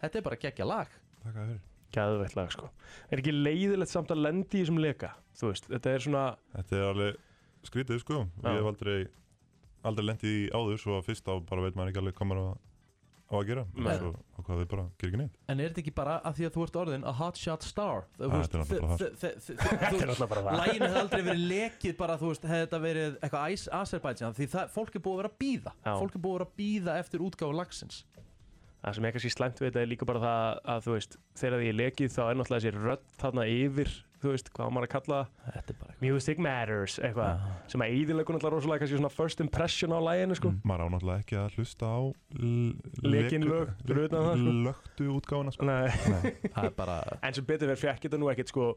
E: þetta er bara geggja lag
D: Takk að fyrir
B: Gæðveitt lag sko Er ekki leiðilegt samt að lendi í þessum leka Þú veist, þetta er svona
D: Þetta er alveg skrítið sko og
B: Já.
D: Ég hef aldrei aldrei lendið í því áður svo að fyrst á bara veit maður ekki alveg hvað maður á, á að gera
B: Nei.
D: og, svo- og hvað við bara gerir ekki neitt
E: en er þetta ekki bara að því að þú ert orðin a hot shot star
D: Ah, þetta er náttúrulega bara
B: Þetta er alltaf bara það
E: Lægin hefði aldrei verið lekið bara, þú veist, hefði þetta verið eitthvað æs Azerbaijan því það, fólk er búið að vera að býða
B: Já.
E: fólk er búið að vera að býða eftir útgáfu lagsins
B: Það sem er kannski slæmt við þetta er líka bara það að þú veist Þegar því er lekið þá er náttúrulega þessi rödd þarna yfir Þú veist, hvað á maður að kalla það?
E: Þetta er bara eitthvað
B: Music Matters, eitthvað Sem að íðinleikur náttúrulega rosalega kannski svona first impression á læginu sko
D: Maður á náttúrulega ekki að hlusta á
B: Lekin lög, fyrir utan það, sko.
D: Lögtu útgáfuna sko
B: Nei,
D: Nei,
E: Það er bara, (laughs)
B: en sem betur verið fekk þetta nú ekkert sko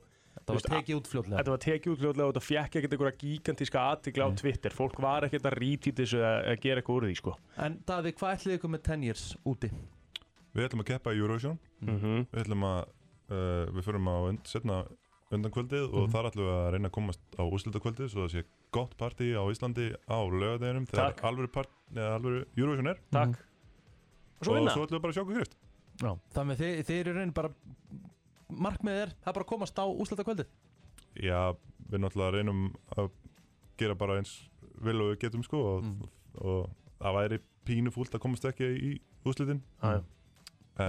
E: það var
B: veist,
E: tekið út fljótlega
B: Þetta var tekið út hljóðlega og þetta fekk ekkert einhverja gigantíska aðtikla á
E: Nei.
B: Twitter Fólk var ekkert að rítið þessu að að gera eitthvað úr því sko
E: En Davík, hvað ætlið ykkur með 10 years úti?
D: Við ætlum að keppa í Eurovision
B: mm -hmm.
D: Við ætlum að uh, Við förum á und, setna undan kvöldið og
E: Mhm.
D: þar ætlum við að reyna að komast á úrslutakvöldið svo það sé gott partí á Íslandi á lögadeginum þegar
B: Takk.
D: alvöru, part, neða, alvöru Eurovision er
B: Takk Mhm. Og svo
D: og
B: vinna
D: svo ætlum við bara að sjá hvað gerist
E: Já. Þannig að þið, þið eru reyni bara markmiðið er, það er bara að komast á úslata
D: Já, við náttúrulega reynum að gera bara eins vel og við getum sko og,
E: Mm.
D: og það væri pínu fúlt að komast ekki í úrslitin
B: Já, já.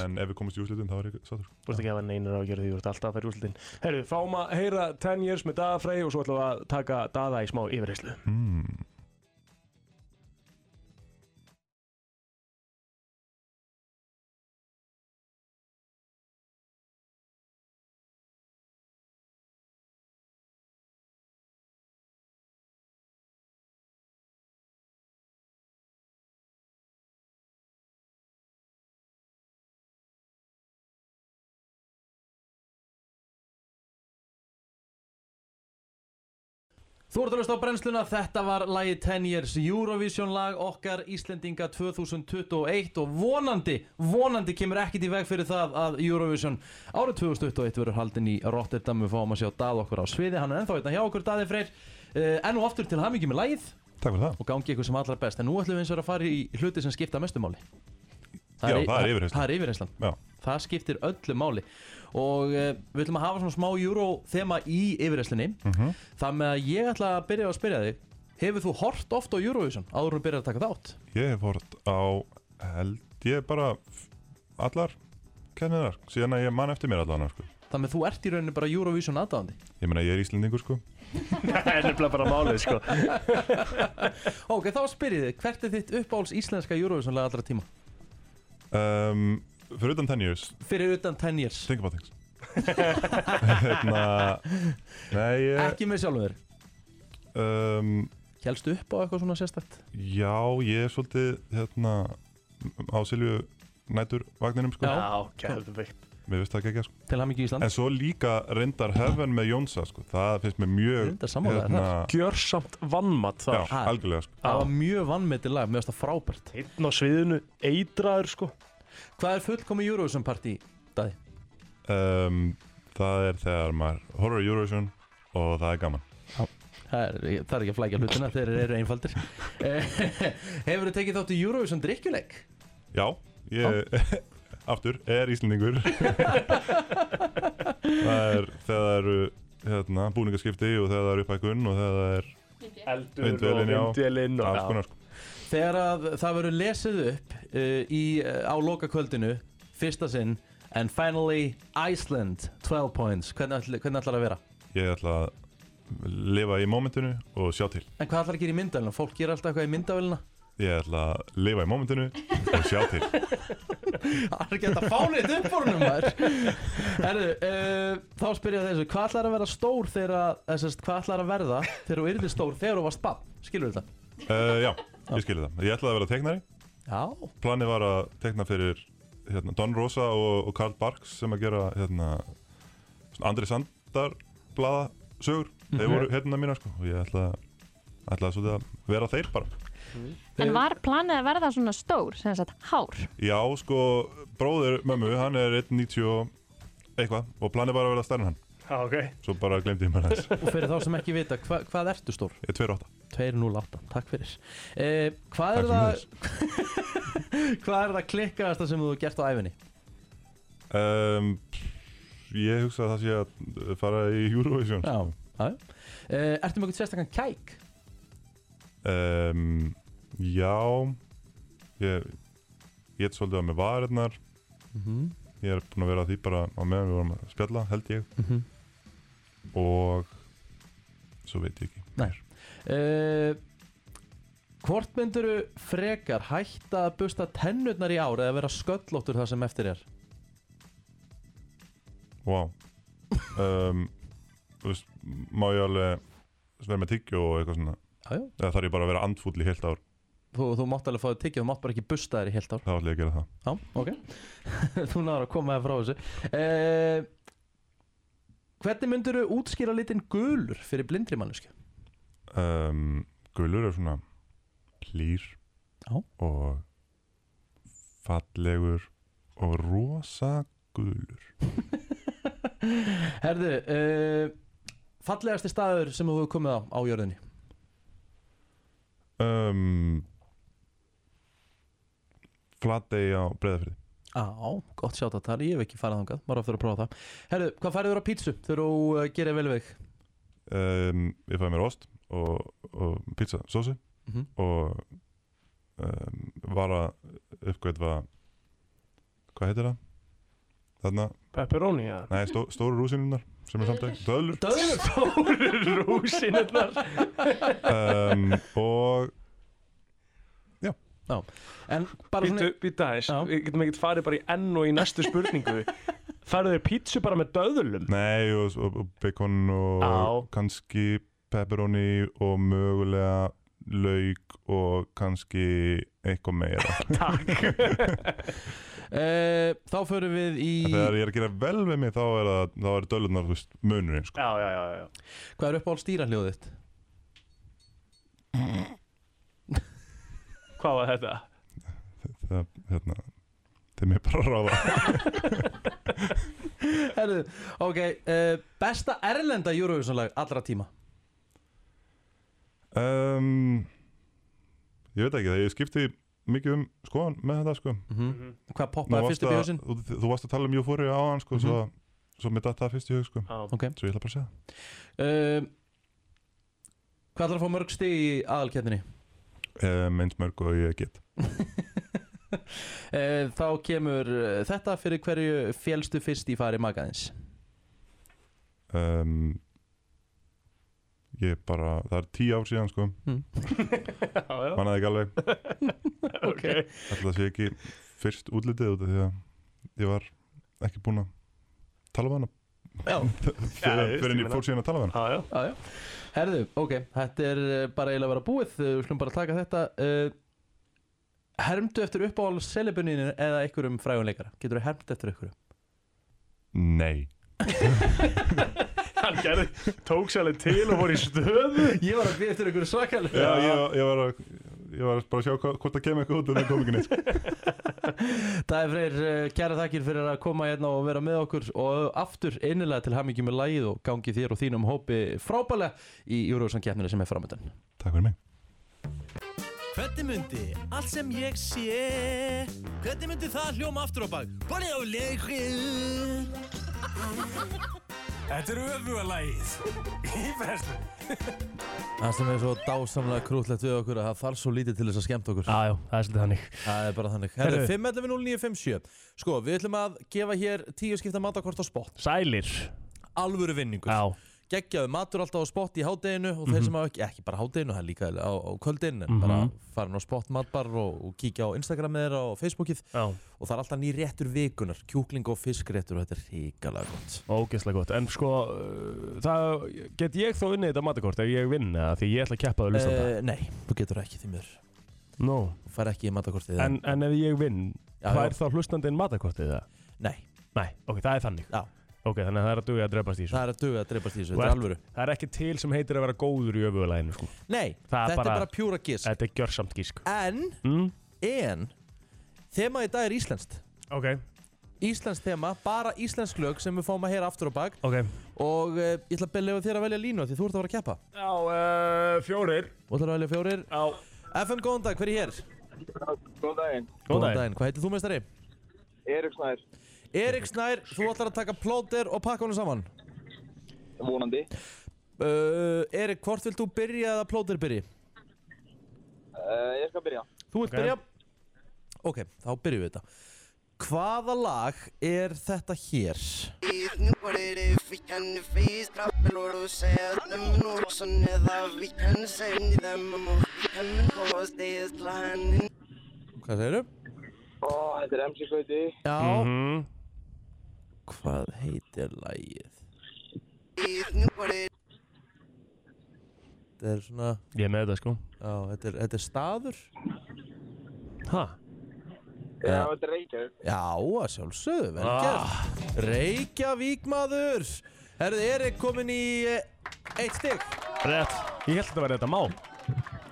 D: en ef við komast í úrslitin þá er ég sko. sattur
B: Þú ert ekki að hafa neinar á að gera því, þú ert alltaf að færa úrslutin Herru, fáum að heyra 10 years með Daða Frey og svo ætlum við að taka Daða í smá (laughs) yfirheyslu
D: mm.
E: Þú ert að hlusta á brennsluna, þetta var lagi 10 years Eurovision lag okkar Íslendinga 2021 og vonandi, vonandi kemur ekkit í veg fyrir það að Eurovision árið 2021 verður haldin í Rotterdam við fáum að sjá Dað okkur á sviði, hann er ennþá hérna hjá okkur Daði Freyr Eh, enn og aftur til hamingi með lagið
D: Takk fyrir það
E: og gangi ykkur sem allra best en nú ætlum við eins og að fara í hluti sem skipta mestu máli
D: Já, það er yfirheyrslan.
E: það er yfirheyslan
D: Já.
E: það skiptir öllu máli og uh, við ætlum að hafa svona smá júró þema í yfirheyslinni
D: Mhm.
E: það með að ég ætla að byrja að spyrja þig hefur þú hort oft á Eurovision áður en þú byrjar að taka þátt
D: Ég hef hort á held ég bara f- allar kenninar síðan að ég man eftir mér allan sko.
E: þannig að þú ert í rauninni bara Eurovision aðdáðandi
D: ég meina ég er Íslendingur sko
B: Það er nefnilega bara málið, sko
E: ok, þá spyr ég þig, hvert er þitt uppáhalds íslenska Eurovision lag allra tíma
D: um, fyrir utan 10 years
E: fyrir utan 10 years
D: think about things hérna nei ég
E: ekki með sjálfum þér
D: um,
E: helst upp á eitthvað svona sérstætt
D: Já, ég er svolítið hérna á Silju nætur vagninum sko,
E: Já.
B: geðvikt
D: mér veist það ekki ekki sko.
E: til hamingi Ísland
D: En svo líka reyndar hefðan með Jónsa sko, það finnst mér mjög hérna,
E: Reyndar sammála þér þar.
B: Gjörsamt vannmatt
D: já,
B: þar
E: Ha.
D: algjörlega sko.
E: það var mjög vannmetið lag, mér finnst það frábært
B: Einn á sviðinu, eitraður, sko
E: Hvað er fullkomi Eurovision partí, Daði?
D: um, Það er þegar maður horfir á Eurovision og það er gaman
E: Það er, það er ekki að flækja hlutina, þeir eru einfaldir (laughs) Hefur þú tekið þátt í Eurovision drikkjuleik?
D: Já, ég (laughs) aftur er
E: (laughs)
D: Íslendingur Það er þegar það eru hérna, búningaskipti og þegar það eru upphækun og þegar það er
B: Eldur
D: Vindvélin, já.
B: og vindvélin og
D: alls konar sko.
E: Þegar að það verður lesið upp uh, í, uh, á lokakvöldinu, fyrsta sinn And finally Iceland, 12 points Hvernig, ætl, hvernig ætlar að vera?
D: Ég ætla að lifa í mómentinu og sjá til
E: En hvað ætlar að gera í myndavélina? Fólk gera alltaf eitthvað í myndavélina
D: Ég ætla að lifa í mómentinu og sjá til
E: Það er ekki hægt að fá neitt upp úr honum maður (laughs) Herru, uh, þá spyr ég þessu Hvað ætlar að vera stór þegar að eða sem sagt, Hvað ætlar að verða þegar þú yrði stór þegar þú varst bann? Skilur þetta?
D: uh, Já, ég skilji það Ég ætlaði að vera teiknari
E: Já,
D: Planið var að teikna fyrir hérna, Don Rosa og, og Karl Barks sem að gera hérna, svona Andri Sandar blaða sögur
E: Mhm.
D: Þeir voru hérna mína sko og ég ætla ætlaði svolítið að vera þeir bara
F: En var planið að verða svona stór, sem sagt, hár?
D: Já, sko, bróðir mömmu, hann er 1.90 og eitthvað og planið var að vera stærn hann
B: Já, ok
D: Svo bara glemdi ég mér aðeins
E: Og fyrir þá sem ekki vita, hva, hvað ertu stór?
D: Ég er 2-8
E: 208, takk fyrir eh, Hvað er
D: Takk
E: það Hvað er það klikkaðasta sem þú hefur gert á æfinni?
D: um, Ég hugsa að það sé að fara í Eurovision
E: Já, já eh, Ertu með eitthvað sérstakann kæk?
D: um, Já Ég Ég get svolítið að með varirnar
E: Mm -hmm.
D: Ég er búinn að vera að því bara á meðan við vorum að spjalla held ég
E: Mm -hmm.
D: Og Svo veit ég ekki
E: Nei. Eh, hvort mynduru frekar hætta að busta tennurnar í ár eða vera sköllóttur það sem eftir er?
D: Vá um, þú veist, Má ég alveg vera með tyggjó og eitthvað svona
E: Já, já
D: Eða þarf ég bara að vera andfúll í heilt ár
E: Þú, þú mátt alveg fá þig tiggið, þú mátt bara ekki busta þér í heilt ár
D: Það ætla ég að gera það
E: Já, ok (laughs) Þú náður að koma það frá þessu eh, Hvernig mynduru útskýra litinn gulur fyrir blindri mannesku?
D: um, Gulur er svona Plýr
E: Já.
D: Og Fallegur Og rosa gulur
E: (laughs) Herðu, uh, fallegasti staður sem þú hefur komið á á jörðinni
D: um, Flatei á breyðafyrði
E: Á, gott sjátt að tala, ég hef ekki farið þangað, maður aftur að prófa það Herðu, hvað færið þú á pítsu þegar þú uh, gerir vel veik?
D: um, Ég fæði mér ost Og, og pizza sósi
B: Mm-hmm.
E: Mm -hmm.
D: Og um, Var að uppgötva Hvað heitir það? Þarna,
B: Pepperoni, (laughs) já
D: nei, stó, stóru rúsinunar sem er samt ekki, döðlur
E: Döður,
B: Rúsinurnar
D: um, og
E: en bara svona
B: Býtu, býtu aðeins
E: Já.
B: Við getum ekkert farið bara í enn og í næstu (laughs) spurningu Farðu þér pítsu bara með döðlum
D: Nei, og, og, og bacon og
B: Á.
D: kannski pepperoni og mögulega lauk og kannski eitthvað meira.
E: uh, Þá förum við í,
D: En Þegar ég er að gera vel við mig þá er, það, þá er dölurnar, þú veist, munurinn, sko.
B: Já, já, já, já
E: hvað er upp á stýra hljóðið þitt?
B: Hvað var þetta?
D: Það, hérna, þeim er bara að (laughs) ráða.
E: Herðu, ok, uh, besta erlenda Eurovision-lag allra tíma
D: um, ég veit ekki það, ég skipti mikið um skoðan með þetta, sko.
E: mm
B: Mhm.
E: Hvað
D: Nú
E: poppaði
D: varst
E: fyrst upp í
D: að-
E: hausinn?
D: Þú, þú varst að tala um Júfóri á hann, sko,
E: Mhm.
D: svo, svo mér datt það fyrst í hug, sko.
B: Já.
E: Ok,
D: Svo ég ætla bara að segja það.
E: uh, hvað ætlar að fá mörg stig í aðalkeppninni?
D: Um, eins mörg og ég get.
E: Eh, Þá kemur eh, þetta fyrir hverju félstu fyrst í fari magaðins
D: um, ég bara, það er tíu ár síðan sko
B: Já, já,
D: mannaði ekki alveg,
B: ok
D: alltaf sé ekki fyrst útlitið út af því að ég var ekki búinn að tala við hana
B: (laughs)
E: Já,
B: ég
D: fyrir,
B: veist,
D: fyrir
B: ég
D: en ég fór síðan að tala við hana
B: Já, já
E: já, já Herðu, ok, þetta er eh, bara eiginlega að vera búið eh, Við slum bara taka þetta uh, Hermdu eftir uppáhald selebuninu eða einhverjum frægunleikara Getur þú hermt
A: (laughs)
E: eftir einhverjum?
D: nei,
B: Hann gerði, tók sér alveg til og fór í stöðu
E: Ég var að við eftir einhverju svakalega
D: já,
E: (laughs)
D: ég, var- ég var að ég var bara að sjá hva, hvort það kemur eitthvað út en það kom ekki neitt sko.
E: Það er freyr eh, kæra þakkir fyrir að koma hérna og vera með okkur og aftur einnilega til hamingjum með lagið og gangi þér og þínum hópi frábælega í Júruvísan keppninu sem er framöndan
D: takk fyrir mig
A: Hvernig myndi allt sem ég sé Hvernig myndi það hljóma aftur á bak Bárið á leikrið
C: Þetta er öfuga lagið í brennslunni.
A: Það sem er svo dásamlega krútlegt við okkur að það þarf svo lítið til þess að skemmta okkur
B: Já, já, það er svolítið þannig
A: Það er bara þannig Herru,
B: Herru.
A: 5.11.09.57 Sko, við ætlum að gefa hér tíu skipta matakort á spott
B: Sælir
A: Alvöru vinningur
B: Já,
A: Geggjaðu matur alltaf á spott í hádeginu og þeir sem hafa ekki, ekki bara hádeginu, það er líka á, á kvöldin en
B: Mhm.
A: bara farin á spott matbar og, og kíkja á Instagramið þeirra og Facebookið
B: já,
A: og það er alltaf nýr réttur vikunar, kjúkling og fiskréttur og þetta er hrikalega gott
B: ógeðslega gott En sko, uh, það get ég þó unnið þetta matakort ef ég vinn eða því ég ætla að keppa það listanda
A: Eh, Nei, þú getur það ekki því mér
B: Nú,
A: Þú fær ekki í matakortið
B: en, en ef ég vinn,
A: Eh, Já,
B: hvað
A: já.
B: er þá hlustandinn matakortið það?
A: Nei,
B: Nei, ok, það er þannig
A: Já.
B: Ok, þannig að það er að duga að drefast í þessu
A: það er að duga að dreipast í þessu,
B: Þú
A: þetta er
B: ert-
A: alvöru
B: Það er ekki til sem heitir að vera góður í öfugalæginu sko.
A: Nei,
B: Það er
A: þetta
B: bara-
A: er bara pjúra gisk
B: Þetta er gjörsamt gísk
A: En,
B: mm?
A: en Þema í dag er íslenskt
B: Ok,
A: Íslands tema, bara íslensk lög sem við fáum að heyra aftur á bak
B: Ok
A: og uh, ég ætla að byrja þér að velja línu af því þú ert að vera að keppa
B: Já, uh, fjórir
A: Þú ætlar að velja fjórir
B: Já
A: FM, góðan dag, hver er hér?
G: Góðan daginn,
B: Góðan dag
A: daginn, hvað heitir þú meistari?
G: Erik Snær,
A: Erik Snær, þú ætlar að taka plóter og pakka honum saman
G: vonandi.
A: uh, Erik, hvort vilt þú byrja eða plóter byrji?
G: Uh, ég skal byrja.
A: Þú vilt
B: Ok.
A: byrja? Ok, þá byrjum við þetta Hvaða lag er þetta hér?
H: Nú er þið fikkan fís Trappelor og sæðum Nú er svo neða vikkan Sæðum þeim og vikkan Hvort þið slá hennin
A: Hvað segirðu?
G: Ó, þetta er MC Gauti.
A: Já
B: Mhm.
A: Hvað heitir lagið?
H: Nú er þið
A: Þetta er svona,
B: Ég er með þetta sko
A: já, þetta er, þetta er staður
B: Ha?
G: Já, þetta er Reykjavík.
A: Já, að sjálfsögðu, vel gert Reykjavík maður Herðu, Erik komin í eh, eitt stig
B: Rétt Ég held að þetta var þetta má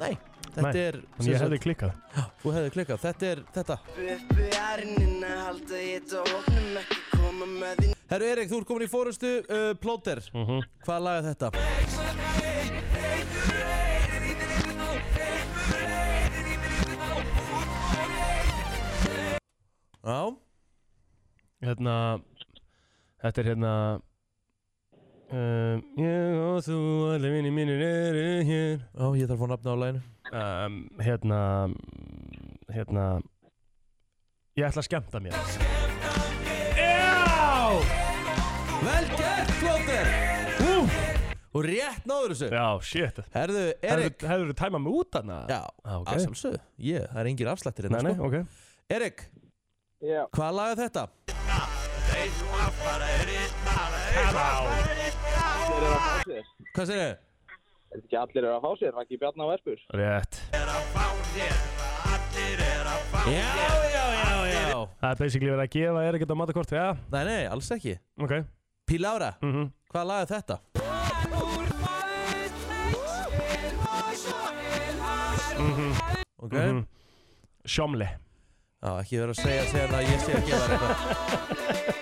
A: Nei, þetta
B: Nei,
A: er
B: En
A: sem
B: ég hefði
A: sagt-
B: klikkað
A: Þú hefði klikkað, þetta er þetta
H: Buppu ærnin að halda hitt Og opnum ekki koma með þín
A: Herru Erik, þú ert komin í fórustu uh, Plóter, mm
B: Mhm.
A: -hmm. hvað laga þetta? Já,
B: Hérna Þetta er hérna um, Ég og þú Allir vinni mínir eru hér
A: já, ég þarf að fá nafna á laginu
B: um, Hérna Hérna Ég ætla að skemmta mér
A: Vel gert, Plóter!
B: Ú
A: Og rétt náður þessu
B: Já, shit
A: Herðu, Erik
B: Hefur þú tæmað mig út hana?
A: Já,
B: Ah, ok.
A: að sjálfsögðu Ég, það er engir afslættir
B: Nei,
A: hérna,
B: nei,
A: sko
B: ok
A: Erik,
G: Já.
A: hvað laga þetta?
G: Allir eru að fá sér.
A: Hvað segir þið?
G: Er þetta ekki allir eru að fá sér? Raki Bjarnar Vespur.
B: Rétt
A: Já, já, já, já
B: Það er basically verið að gefa Erik þetta matakort Já,
A: Nei, nei, alls ekki
B: ok
A: Pílára,
B: mm
A: hvað laga þetta? Ok,
B: Mhm. Sjómli
A: já, ekki vera að segja síðan að ég sé að gefa þér eitthvað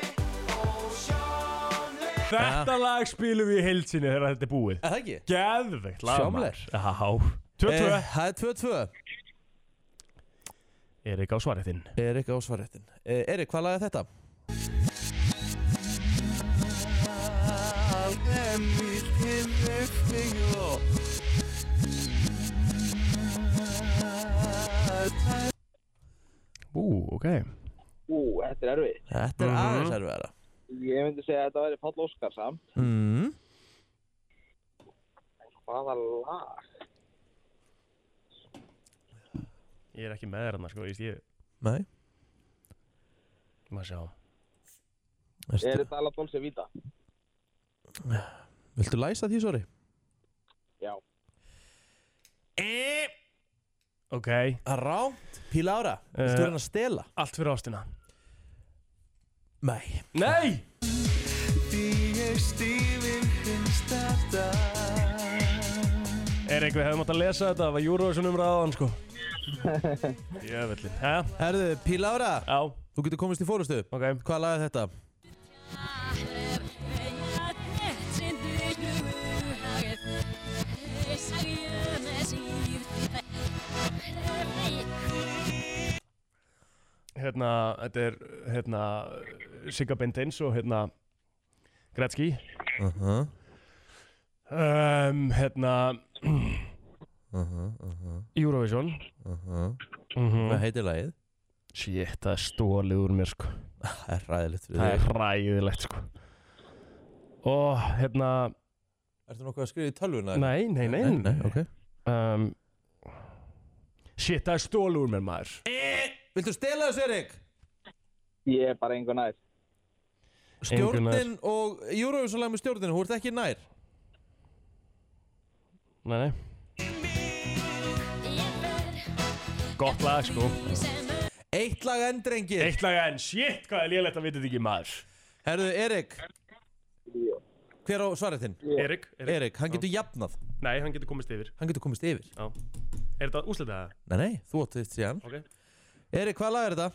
B: Þetta lag spilum við í heilsinni þegar þetta er búið
A: Er það ekki?
B: Geðveikt lag
A: Sjómli.
B: maður. Já, 22
A: Eh, Það er 2-2
B: Erik á svarið þinn
A: Erik á svarréttin eh, Erik, hvað laga þetta?
B: Ú, ok
G: Ú, þetta er erfið.
A: Þetta er aðeins erfiðara
G: Ég myndi segja að þetta væri Páll Óskar samt.
A: mm.
G: Hvaða lag?
B: Ég er ekki með þér hana, sko, ég stíði
A: Nei
B: Maður sjá
G: Er
A: Erstu,
G: þetta alveg Dolce Vita?
A: Viltu læsa því, sorry?
G: Já.
B: Ok
A: Ránt, Pílára, viltu
B: Eh.
A: reyna að stela?
B: Allt fyrir ástina
A: Nei
B: Nei Erik, við hefum átt að lesa þetta Það var Eurovision umræðan, (laughs) sko Jöfellin Hæ?
A: Herðu, Pílára,
B: Já,
A: þú getur komist í fórustu
B: ok
A: Hvað laga þetta?
B: Hérna, þetta er, hérna Sigga Bindins og hérna Gretzky
A: Uh -huh.
B: um, Hérna (clears throat)
A: Uh -huh, uh -huh,
B: Eurovision
A: uh -huh.
B: mm
A: Hvað heitir lagið? (laughs)
B: Shit, það er stólið úr mér, sko
A: Það er ræðilegt fyrir
B: Það
A: þig
B: er ræðilegt, sko Og, hérna
A: Ertu nokkuð að skrifa í tölvuna?
B: Nei, nei, nei,
A: nei, nei ok
B: um, Shit, það er stólu úr mér maður
A: Viltu stela þessu, Erik?
G: Ég er bara engu nær.
B: Engu nær.
A: Stjórnin og Eurovision-lag með stjórninu, hú ert ekki nær
B: Nei, nei Gott lag sko
A: Eitt lag enn, drengir
B: Eitt lag enn, shit, hvað er lélegt að vita þetta ekki maður
A: Herðu, Erik Hver á svarið þinn?
B: Erik, Erik,
A: Erik, hann getur jafnað
B: Nei, hann getur komist yfir
A: Hann getur komist yfir
B: Er þetta úsleitað það?
A: Nei, nei, þú átt þitt síðan
B: Ok.
A: Erik, hvað lag er þetta?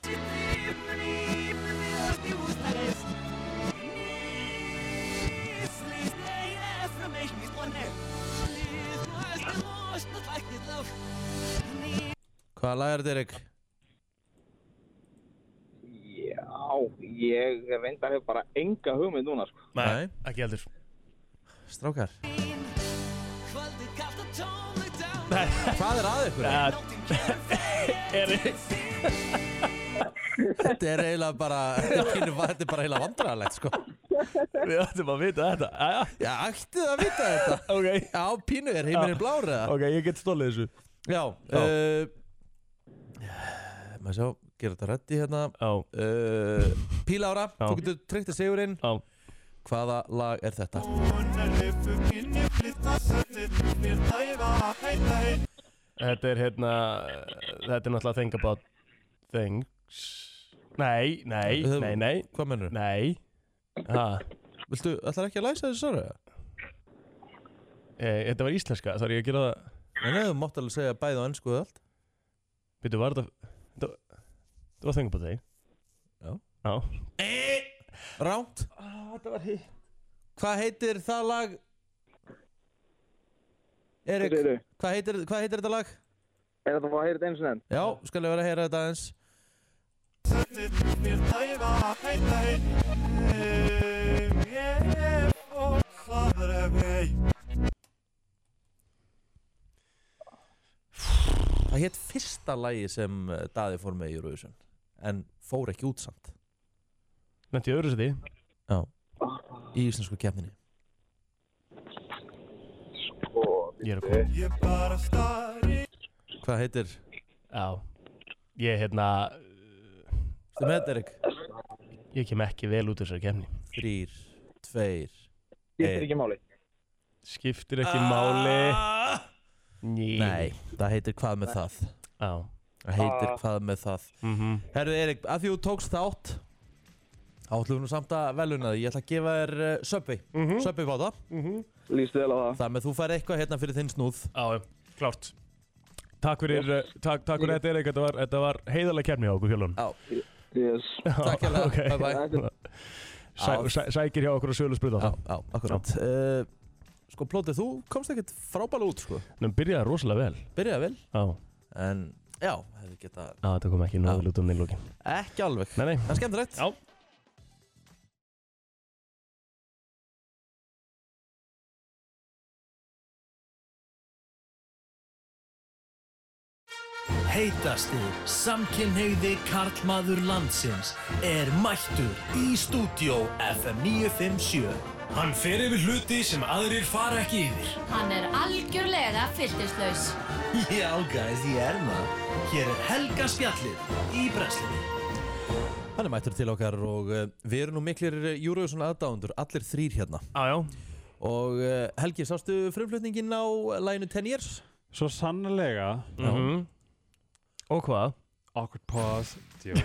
A: Hvaða lag er þetta, Erik?
G: Já, ég reyndar hef bara enga hugmynd núna, sko.
A: Nei.
B: ekki heldur
A: Strákar Hvað er að ykkur? Þetta er eiginlega bara (laughs) Þetta er bara eiginlega vandræðalegt sko
B: (laughs) Við ættum að vita þetta Jæja,
A: Já, ættið að vita þetta
B: ok
A: Já, pínu er heimurinn blár eða
B: Ok, ég get stólið þessu
A: Já,
B: Já.
A: uh, Maður sjá, gera þetta reddi hérna
B: Já,
A: uh, Pílára,
B: Já.
A: þú getur tryggt að sigurinn
B: já
A: Hvaða lag er þetta?
B: Þetta er hérna Þetta er náttúrulega Think About Things Nei, nei,
A: Við höfum-
B: nei, nei
A: Hvað mennur?
B: Nei ha,
A: Viltu, ætlar ekki að læsa þessu sara?
B: e, Þetta var íslenska, þarf ég að gera það
A: Nei, nei, þú mátt alveg segja bæði og ennsku og allt
B: Býttu, var þetta Þetta var- þetta var Think About Things
A: Já.
B: Já
A: Ránt
B: Ah, Þetta var hitt
A: Hvað heitir það lag? Erik,
G: Hvað segirðu?
A: hvað heitir, hvað heitir þetta lag?
G: Er þetta að fá að heyra þetta eins og enn?
A: Já, skal ég vera að heyra þetta aðeins Það hétt fyrsta lagi sem eh, Daði fór með í Eurovision En fór ekki út samt
B: Lenti í öðru seti
A: Í íslensku kefninni
B: Ég er að koma
A: Hvað heitir?
B: Já Ég hérna
A: Þú með þetta Erik?
B: Ég kem ekki vel út úr þessari kemni
A: Þrýr, tveir
G: Skiptir ekki máli.
B: Skiptir ekki máli Ný.
A: Ah! Nei, það heitir hvað með það
B: Já
A: Það heitir
B: Ah.
A: hvað með það
B: mm
A: Herðu Erik, að því þú tókst þátt Átlum nú samt að veluna því Ég ætla að gefa þér uh, Subway
B: Mhm.
A: Subway báta
G: Lýstu vel á það.
A: Þar með þú fær eitthvað hérna fyrir þinn snúð
B: Já, já, klárt Takk fyrir, uh, takk, takk fyrir þetta Erik, þetta var, þetta var heiðalega kemni á okkur fjölun
A: Já,
G: Yes.
A: takk hérna
B: (laughs) ok.
A: Bye bye
G: Þetta er
B: Sæ,
A: Já.
B: sæ, Sækir hjá okkur að sölu spruta
A: Já, já, akkurat uh, Sko plótið, þú komst ekkert frábæla út sko
B: Þannig að byrjaði rosalega vel
A: Byrjaði vel
B: Já,
A: En já, hefði geta
B: já þetta kom ekki náðu lútum í lókin
A: ekki alveg
B: um Nei, nei
A: Það er skemmt rætt
B: Já.
I: Heitasti samkynhegði karlmaður landsins er mættur í stúdió FM 957.
C: Hann fer yfir hluti sem aðrir fara ekki yfir.
J: Hann er algjörlega fyltislaus.
I: Já, guys, ég er maður. Hér er Helga Spjallið í Breslunni.
A: Hann er mættur til okkar og uh, við erum nú miklir eh, Eurovision aðdáundur Allir þrýr hérna
B: Já, já
A: Og uh, Helgi, sástu frumflutningin á læginu 10 years?
K: Svo sannlega
B: Og hvað?
K: Awkward pause Djú.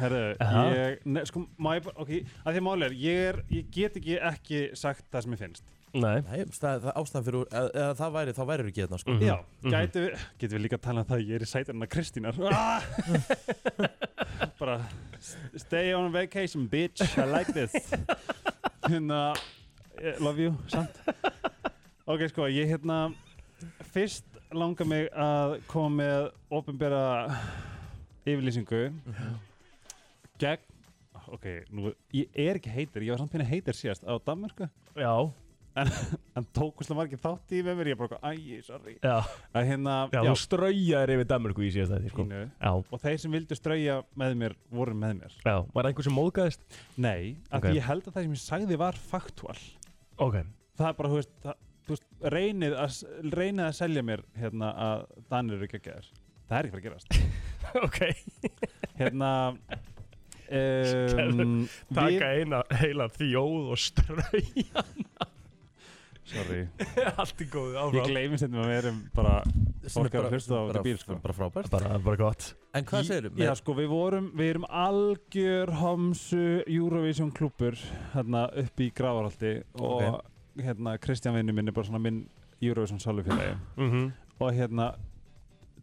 K: Herru,
B: Aha.
K: ég, ne, sko, má ég bara, ok, að því máli er, ég er, ég get ekki ekki sagt það sem ég finnst.
B: Nei
A: Nei, það, það ástæðan fyrir, eða, eða það væri, þá væri ekki hérna sko.
K: Já, Mhm.
B: Mm.
K: gæti við, getum við líka að tala um það, að ég er í sætarinn að Kristínar. Ah! (laughs) bara, st- stay on vacation, bitch, I like
B: (laughs)
K: this. Hérna, eh, love you, samt. Ok, sko, ég hérna, fyrst langar mig að koma með ofinbera yfirlýsingu
B: Mhm.
K: gegn ok, nú, ég er ekki heitir, ég var samt pínu heitir síðast á Danmörku
B: Já,
K: en tókuslega margir þátt í með mér, ég bara, eitthvað, æ, sorry
B: já
K: að hérna,
B: Já, þú straujaðir yfir Danmarku í síðast þetta, sko
K: pínu.
B: Já,
K: og þeir sem vildu strauja með mér voru með mér
B: já Var einhver sem móðgæðist?
K: nei, af
B: Ok.
K: því ég held að það sem ég sagði var faktúal
B: Ok (laughs)
K: það er bara, þú veist, það, þú veist reynið, að, s- reynið að selja mér hérna að Danir eru geggjaðir það er ekki fyrir að
B: (laughs)
K: gerast
B: Ok
K: hérna um, við,
B: Taka eina heila þjóð og strauja
K: sorry
B: (laughs) Allt í góðu
K: ég
B: áfram
K: gleymi sem við erum bara
A: Sem er
K: Fólk er að
A: bara-
K: hlusta á
A: bara-
K: þetta bíl, sko.
A: Bara frábært
B: Bara, bara gott
A: En hvað segirðu?
K: Já, sko, við vorum, við erum algjör homsu Eurovision klúpur hérna upp í Gravarhaldi og
B: Mhm.
K: hérna Kristján vinnu minn er bara svona minn Eurovision salufélagi
B: mm
K: og hérna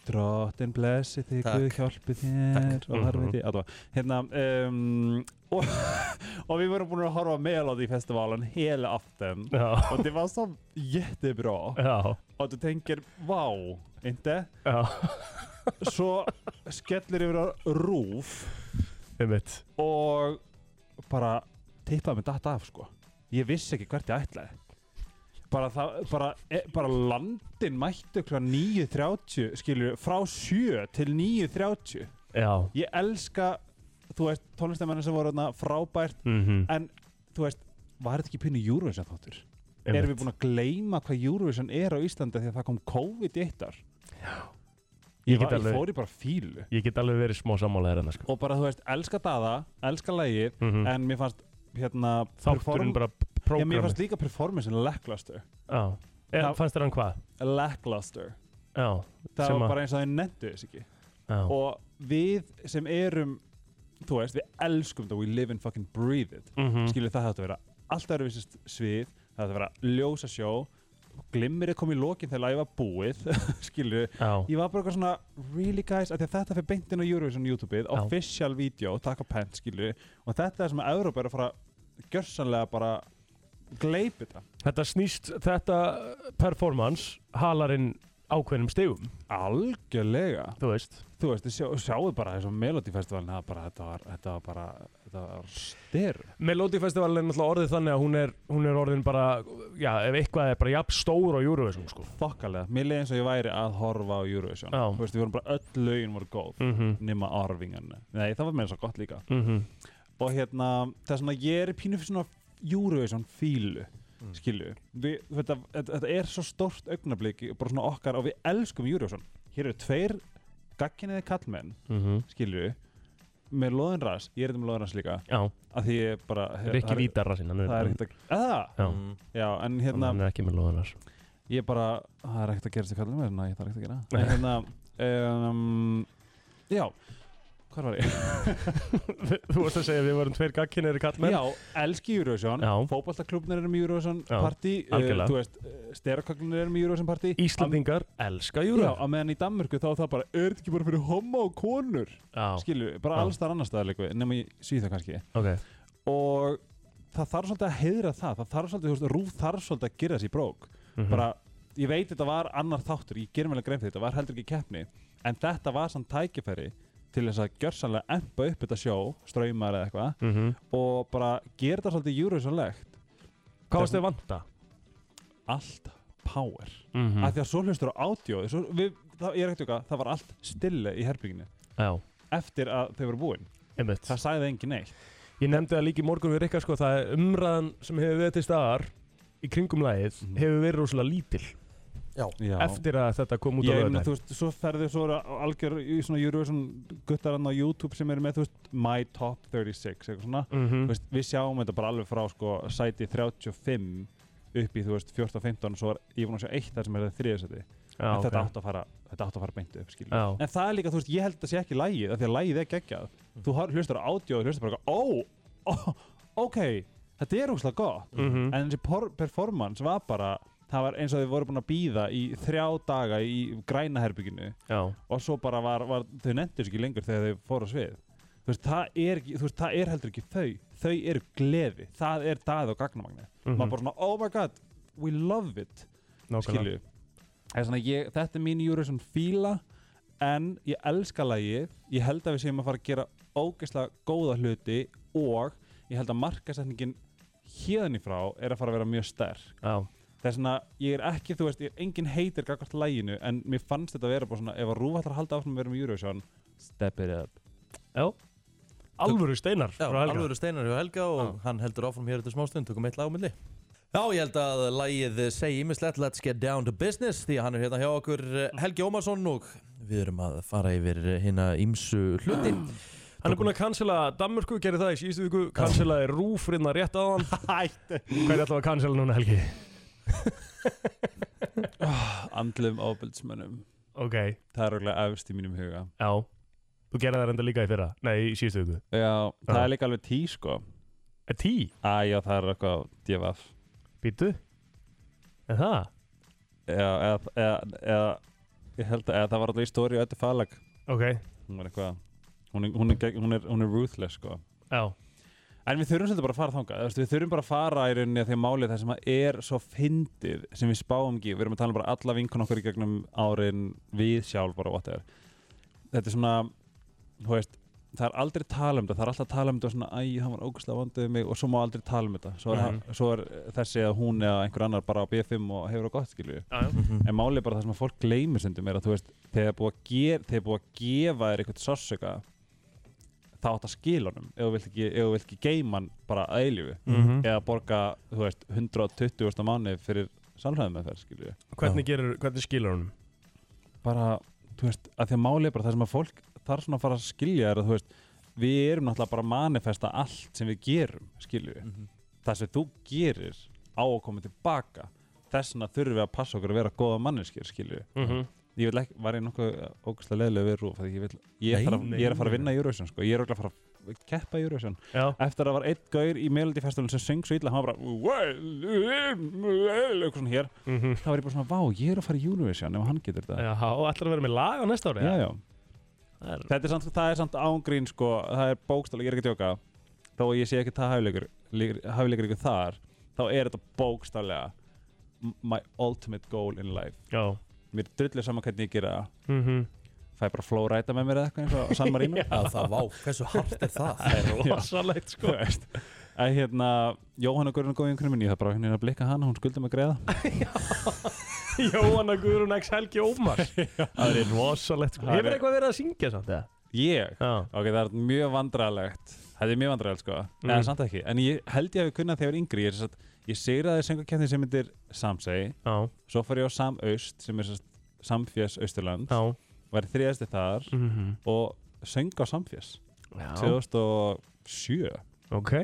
K: Drottin blessi þig,
I: Takk.
K: Guð hjálpi þér
I: Takk.
K: og harfi
I: Mhm.
K: þig, allavega hérna, um, og, (laughs) og við vorum búin að horfa Melody festivalen hele aften
B: Já.
K: og det var så jättebra
B: Já.
K: og þú tenker, wow, inte
B: Já.
K: svo skellir yfir á rúf
B: Einmitt.
K: og bara tippaði mig datt af sko ég vissi ekki hvert ég ætlaði bara, það, bara, e, bara landin mættu okkur 9.30 skilur frá 7 til 9.30
B: Já.
K: ég elska þú veist tónlistamennin sem voru þarna frábært
B: Mhm.
K: en þú veist var þetta ekki pínu Eurovision þáttur
B: Einmitt.
K: erum við búin að gleyma hvað Eurovision er á Íslandi því að það kom COVID í eittar
B: Ég
K: ég,
B: get
K: var- ég
B: alveg-
K: fór í bara fílu
B: Ég get alveg verið smá sammála þér hennar sko.
K: og bara þú veist, elska daða, elska lægið
B: Mhm.
K: en mér fannst hérna
B: Þátturinn bara
K: Já, mér
B: prógramið.
K: fannst líka performance lackluster
B: Já. Eða,
K: Það-
B: fannst þér hann hvað?
K: lackluster
B: Já.
K: það
B: sem
K: var
B: að-
K: bara eins og þau nettu þess ekki
B: Já.
K: og við sem erum þú veist, við elskum það, we live and fucking breathe it
B: Mhm.
K: skilur það þátt að vera allt öðru vissist svið, það þátt að vera ljósa sjó glimmerið kom í lokin þegar ég var búið (laughs) skilur,
B: Já.
K: ég var bara eitthvað svona really guys, af því að þetta fyrir beintin á Eurovision YouTube-ið,
B: Já.
K: official video takk á pent, skilur, og þetta er sem að Europa er að fara gjörsanlega bara gleipi þetta
B: Þetta snýst, þetta performance halarinn ákveðnum stegum.
K: Algjörlega
B: Þú veist
K: Þú veist, sjá, sjáu bara þessu Melody Festivalin það bara, þetta var, þetta var bara þetta var styr
B: Melody Festival er náttúrulega orðið þannig að hún er, hún er orðin bara, já, ef eitthvað er bara jafn stór á Eurovision, sko.
K: Fokkalega, mér leiði eins og ég væri að horfa á Eurovision
B: Já.
K: Þú veist, við vorum bara öll lögin voru góð
B: Mhm.
K: nema arvingan Nei, það var með þess að gott líka
B: Mhm.
K: og hérna, það er svona, ég er í pínu fyrir svona Eurovision fílu
B: Mm.
K: skilju, við, þetta, þetta, þetta er svo stort augnablik, bara svona okkar og við elskum Eurovision, hér eru tveir gagginniði kallmenn,
B: Mhm.
K: skilju með loðin ras, ég er þetta með loðin ras líka
B: Já.
K: að því ég bara eh,
B: Rikki
K: það er-
B: Vítar rassinn, hann er- hérna. Mm.
K: það er ekkert að, að
B: Já.
A: Mm.
K: já, en hérna
B: Hann er ekki með loðan þar.
K: ég bara, það er ekkert að gerast í kallinu mér þannig að ég þarf ekkert
B: (laughs)
K: að
B: Nei.
K: gera en, hérna, um, já hvað var ég?
B: (laughs) Þú varst að segja að við vorum tveir gagkinnir kallmenn.
K: já, elski Eurovision, fótballtaklubnir eru með Eurovision
B: Já,
K: party, uh,
B: algjörlega.
K: þú veist steraköklunar eru með Eurovision party
B: Íslendingar elska
K: já,
B: Eurovision.
K: að meðan í Danmörku þá er það bara er þetta ekki bara fyrir homma og konur
B: Já.
K: skilju, bara
B: Já.
K: alls þar annars staðar líka nema í Svíþjóð kannski
B: Ok.
K: og það þarf svolítið að heiðra það það þarf svolítið, þú veist, rúf þarf svolítið að gera þessi brók
B: Mhm.
K: bara, ég veit þetta var annar þáttur, ég gerum vel að grein fyrir þetta, var heldur ekki keppni en þetta var samt tækifæri til þess að gjörsanlega empa upp þetta sjó ströymar eða eitthvað
B: Mhm.
K: og bara gera þetta svolítið júruvísanlegt
B: Hvað varst þið vanta?
K: Allt power
B: Mhm.
K: af því að svo hlustur á ádjóð svo, við, það, ég er ekkert okkar, það var allt stille í herbygginu
B: Já.
K: eftir að þau voru búin
B: Einmitt.
K: það sagði engin neitt
B: Ég nefndi það líka í morgun við Rikka sko, það er umræðan sem hefur verið til staðar í kringum lagið hefur verið rosalega lítil.
A: Já.
B: Eftir að þetta kom út á
K: Ég meina,
B: lögadaginn.
K: þú veist, svo ferðu svo eru á- algjör í svona Eurovision guttarann á YouTube sem eru með, þú veist, My Top 36 eitthvað svona,
B: Mhm.
K: þú veist, við sjáum þetta bara alveg frá, sko, sæti 35 upp í, þú veist, 14-15 svo er, ég vona að sjá eitt þar sem er það þriðasæti
B: Já,
K: en þetta
B: ok.
K: átt að fara þetta átt að fara beint upp, skilur
B: Já.
K: en það er líka, þú veist, ég held að það sé ekki lægið af því að lægið er geggjað
B: Mm.
K: þú har- hlustar á ádjóð, hlustar bara eitthvað, ó, ó, ok þetta er úrslega gott
B: Mhm.
K: en þessi por- performance var bara það var eins og þau voru búin að býða í þrjá daga í græna herbygginu
B: Já.
K: og svo bara var, var þau nefndu sig ekki lengur þegar þau fóru á svið þú veist, það er, ekki, þú veist, það er heldur ekki þau þau eru gleði, það er dað og gagnamagni
B: Mhm.
K: maður bara svona, oh my god, we love it
B: Nákvæmlega.
K: skilju Það er svona, ég, þetta er mín Eurovision fíla en ég elska lagið ég held að við séum að fara að gera ógeðslega góða hluti og ég held að markasetningin hérðan í frá er að fara að vera mjög sterk
B: Já.
K: það er svona, ég er ekki, þú veist, ég er engin heitir gagvart læginu en mér fannst þetta að vera bara svona ef að Rúf ætlar að halda áfram að vera með Eurovision step it up
B: Já. Alvöru steinar
A: Já,
B: frá Helga.
A: alvöru steinar hjá Helga og hann heldur áfram hér eftir smástund, tökum eitt lag á milli Já, ég held að lagið segi ímislegt Let's Get Down to Business því að hann er hérna hjá okkur eh, Helgi Ómarsson og við erum að fara yfir hérna ímsu hluti
B: Hann er búinn að cancela Danmörku, gerði það í síðustu viku, cancelaði Rúf rinna rétt á hann.
K: Hætti.
B: Hvað er alltaf að cancela núna Helgi?
K: andlum ábyldsmönnum
B: Ok.
K: það er auðvitað efst í mínum huga
B: Já. Þú gerði það reynda líka í fyrra. Nei, í síðustu viku.
K: Já, það er líka alveg tí sko
B: Er tí?
K: Æ, já, það er eitthvað divaf
B: Býtu? Er það?
K: Já, eða, eða, eða Ég held að eða, það var alltaf í stóri og þetta falag
B: Ok.
K: Hún var eitthvað Hún er, hún er, gegn- hún er, hún er ruthless sko
B: Já
K: En við þurfum svolítið bara að fara þangað þú veist, Við þurfum bara að fara í rauninni að því að málið það sem að er svo fyndið sem við spáum ekki Við erum að tala um bara alla vinkun okkur í gegnum árin við sjálf bara what ever Þetta er svona þú veist Það er aldrei tala um þetta, það er alltaf tala um þetta svona Æ, hann var ógustlega vandið mig og svo má aldrei tala um þetta Svo er,
B: Mhm.
K: mm svo er þessi að hún eða einhver annar bara á B5 og hefur á gott skilju
B: Já, já. Mhm.
K: en málið er bara það sem að fólk gleymir stundum er að þú veist, þegar búið að, ge þegar búið að gefa þér eitthvað sársöka þá átt að skila honum ef þú vilt ekki, ef þú vilt ekki geima hann bara að eilífu
B: Mhm.
K: eða borga, þú veist, 120.000 á mánu fyrir samræðum með þær, skilju
B: Hvernig, gerir, hvernig skilur hún?
K: bara, þú veist, að því að málið er bara það sem að fólk þarf svona að fara að skilja er að þú veist, við erum náttúrulega bara að manifesta allt sem við gerum, skilju
B: Mhm.
K: það sem þú gerir á að koma tilbaka þess vegna þurfum við að passa okkur að vera góða manneskir, skilju
B: Mhm.
K: ég vil ekki, var ég nokkuð ógustlega leðilega við rúf, af því ég, vil,
B: Nei,
K: ég, þarf,
B: nei,
K: ég er að fara
B: nei.
K: að vinna í Eurovision, sko, ég er örugglega að fara að keppa í Eurovision, Já. eftir að það var einn gaur í Melody Festival sem söng svo illa, hann var bara eitthvað svona hér þá var ég bara svona, vá, ég er að fara í Eurovision ef hann getur þetta
B: Já, og ætlar að vera með lag á næsta ári?
K: já, já. Þetta er samt, það er samt ángrín sko, það er bókstælega, ég er ekki að djóka þó að ég sé ekki það hæfileikur líkur- hæfileikur ykkur þar, þá er þetta bókstælega my ultimate goal in life
B: já.
K: Mér er drullið saman hvernig ég gera það
B: Mhm.
K: Fæ bara flowræta með mér eða eitthvað eins og San (laughs) Marino
B: Já, það- vá, hversu hart er það? Það er rosalegt, sko.
K: (laughs) Þú veist, Að hérna, Jóhanna Guðrun góði einhvern minni, ég þarf bara hérna að blikka hana, hún skuldum að greiða
B: (laughs) Jóhanna Guðrún X Helgi (laughs) Ómar Það er rosalegt sko.
K: Það
B: Hefur
K: er-
B: eitthvað verið að syngja samt eða?
K: Ég? Ok, það er mjög vandræðalegt Það er mjög vandræðalegt sko
B: Mm.
K: Nei, samt ekki En ég held ég hafi kunnað þegar ég var yngri Ég, er sem sagt- ég segraði söngarkjæftin sem myndir Samsei
B: Já.
K: Svo fór ég á Samaust sem er sem sagt Samfjæs Austurland
B: Já.
K: Var þriðasti þar
B: Mhm.
K: Og söng á Samfjæs
B: Já.
K: 2007
B: Ok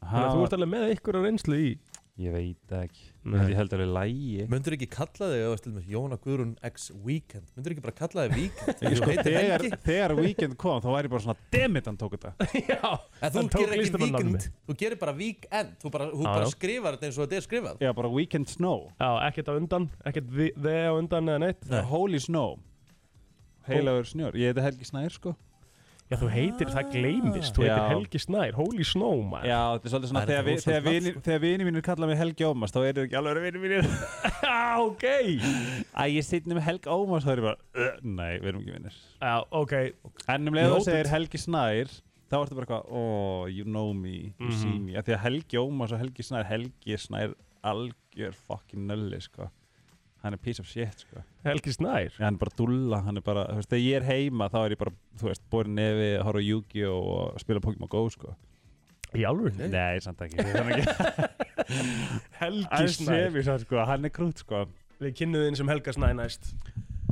B: Þannig að þú ert alveg með ykkur á reynslu í
K: Ég veit það ekki
B: Nei.
K: Ég held alveg lægi
A: Möndur ekki kalla þig, ef þú veist, til dæmis, Jóna Guðrún X Weekend Möndur ekki bara kalla þig Weekend
K: Ég,
A: Þú
K: sko,
A: heitir
K: þegar,
A: Helgi.
K: þegar weekend kom þá var ég bara svona Dammit, hann tók þetta
A: En þú
K: hann tók
A: gerir ekki
K: listamannanafnið
A: Weekend, þú gerir bara Weekend Þú bara, þú
K: Já,
A: bara
K: já.
A: skrifar þetta eins og þetta er skrifað
K: Já, bara Weekend Snow
B: Já, ekkert á undan, ekkert vi- þið á undan eða neitt
K: Nei. Holy Snow Heilagur snjór Ég heiti Helgi Snær sko
B: Já, þú heitir, það gleymist, þú heitir
K: Já.
B: Helgi Snær, Holy Snow man
K: Já, þetta sko. er svolítið
B: Það
K: svona
B: er
K: þegar, vi,
B: rosalegt
K: þegar,
B: nafn,
K: vinir, þegar vinir mínir kalla mig Helgi Ómars þá er þetta ekki alveg vinir mínir
B: (laughs) Já, ok
K: (laughs) Æ, ég sitnir með Helgi Ómars þá er ég bara, "Ugh, nei, við erum ekki vinir
B: Já, ok
K: En um leiðu þú
B: Noted.
K: segir Helgi Snær þá ertu bara eitthvað, oh, you know me, you see
B: Mhm.
K: me Af Því að Helgi Ómars og Helgi Snær Helgi Snær algjör fucking nölli, sko Hann er piece of shit, sko
B: Helgi Snær?
K: Já, hann er bara dulla, hann er bara, þú veist, þegar ég er heima þá er ég bara, þú veist, borin nefi, horfa á Yu-Gi-Oh! og spila Pokémon GO, sko
B: Í alveg?
K: Nei, samt (laughs) ekki, þannig ekki
B: Helgi
K: Hann sé
B: Snær
K: mér samt, sko, hann er krút sko
B: Við kynnuðum sem Helga Snær næst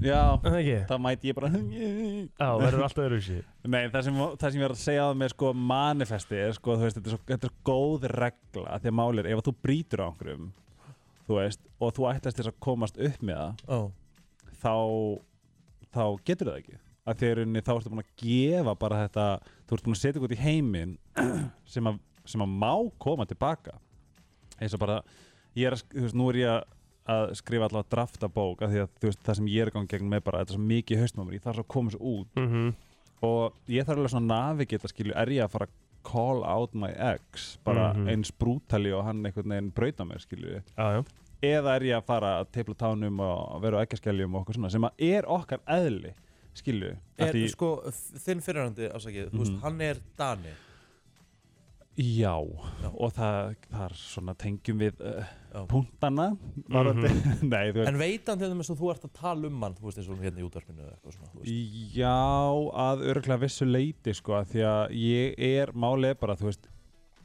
K: Já,
B: það ekki
K: Það mæti ég bara
B: Já, verður alltaf öðruvísi
K: Nei, það sem, það sem ég var að segja á það með sko manifesti er sko, þú veist, þetta er svo, þetta er svo góð regla af því að máli er, ef að þú brýtur á einhverjum þú veist, og þú ætlast þess að komast upp með það
A: oh.
K: þá, þá getur það ekki af því að í rauninni þá ertu búin að gefa bara þetta, þú ert búin að setja eitthvað út í heiminn sem að, sem að má koma tilbaka eins og bara, ég er að, sk- þú veist, nú er ég að að skrifa allavega draftabók af því að þú veist, það sem ég er að ganga í gegnum er bara þetta er svo mikið haustnámur, ég þarf svo að koma svo út
B: Mhm.
K: og ég þarf alveg svona navigeta skilju, er ég að fara að call out my ex, bara
B: Mhm.
K: eins brútali og hann einhvern veginn brauta mér skilju
B: já.
K: eða er ég að fara að teipla tánum og vera á ekkaskeljum og okkur svona sem að er okkar eðli skilju
A: Er, sko, þinn fyrirhandi, afsakið, þú veist,
K: Mhm.
A: hann er Dani
K: Já, og það, það er svona tengjum við uh, punktana (laughs) Nei, þú veist
A: En veit hann til dæmis að þú ert að tala um hann, þú veist, eins og hérna í útvarpinu eða eitthvað svona, þú veist
K: Já, að örglega vissu leiti sko, að því að ég er málið er bara, þú veist,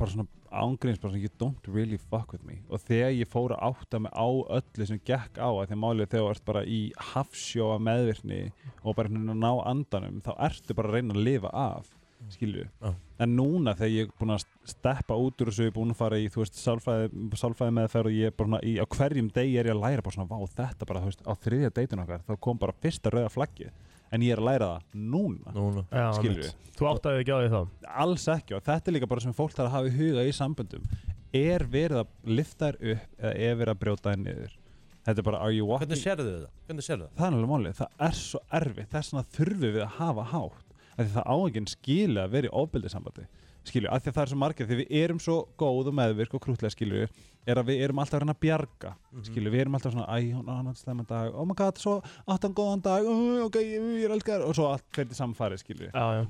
K: bara svona ángríns, bara svona, you don't really fuck with me og þegar ég fór að átta mig á öllu sem gekk á, að því að málið er þegar þú ert bara í hafsjóa meðvirkni og bara hérna ná andanum, þá ertu bara að reyna að lifa af, skilju
A: Já.
K: en núna þegar ég er búin að steppa út úr þessu, ég er búin að fara í, þú veist, sálfræði, sálfræði meðferð og ég er bara svona í, á hverjum degi er ég að læra bara svona, vá, þetta bara, þú veist, á þriðja deitin okkar, þá kom bara fyrsta rauða flaggið, en ég er að læra það núna,
A: núna.
B: Já,
K: skilju
B: einmitt. Þú áttaði ekki á því þá?
K: alls ekki og þetta er líka bara sem fólk þarf að hafa í huga í samböndum er verið að lifta þær upp eða er verið að brjóta þær niður Þetta er bara, are you walking?
A: Hvernig sérðu þau það? Hvernig sérðu það?
K: Það er alveg málið, það er svo erfitt, þess vegna þurfum við að hafa hátt af því það á ekki skilja að vera í ofbeldissambandi skilju, af því að það er svo margir, því við erum svo góð og meðvirk og krútlega skilju er að við erum alltaf að reyna að bjarga
B: Mhm.
K: skilju, við erum alltaf svona, æ, hún hann átti slemman dag oh my god, svo átti hann góðan dag uh, ok, ég, ég er elskar, og svo allt fyrir til samfari skilju,
B: já, já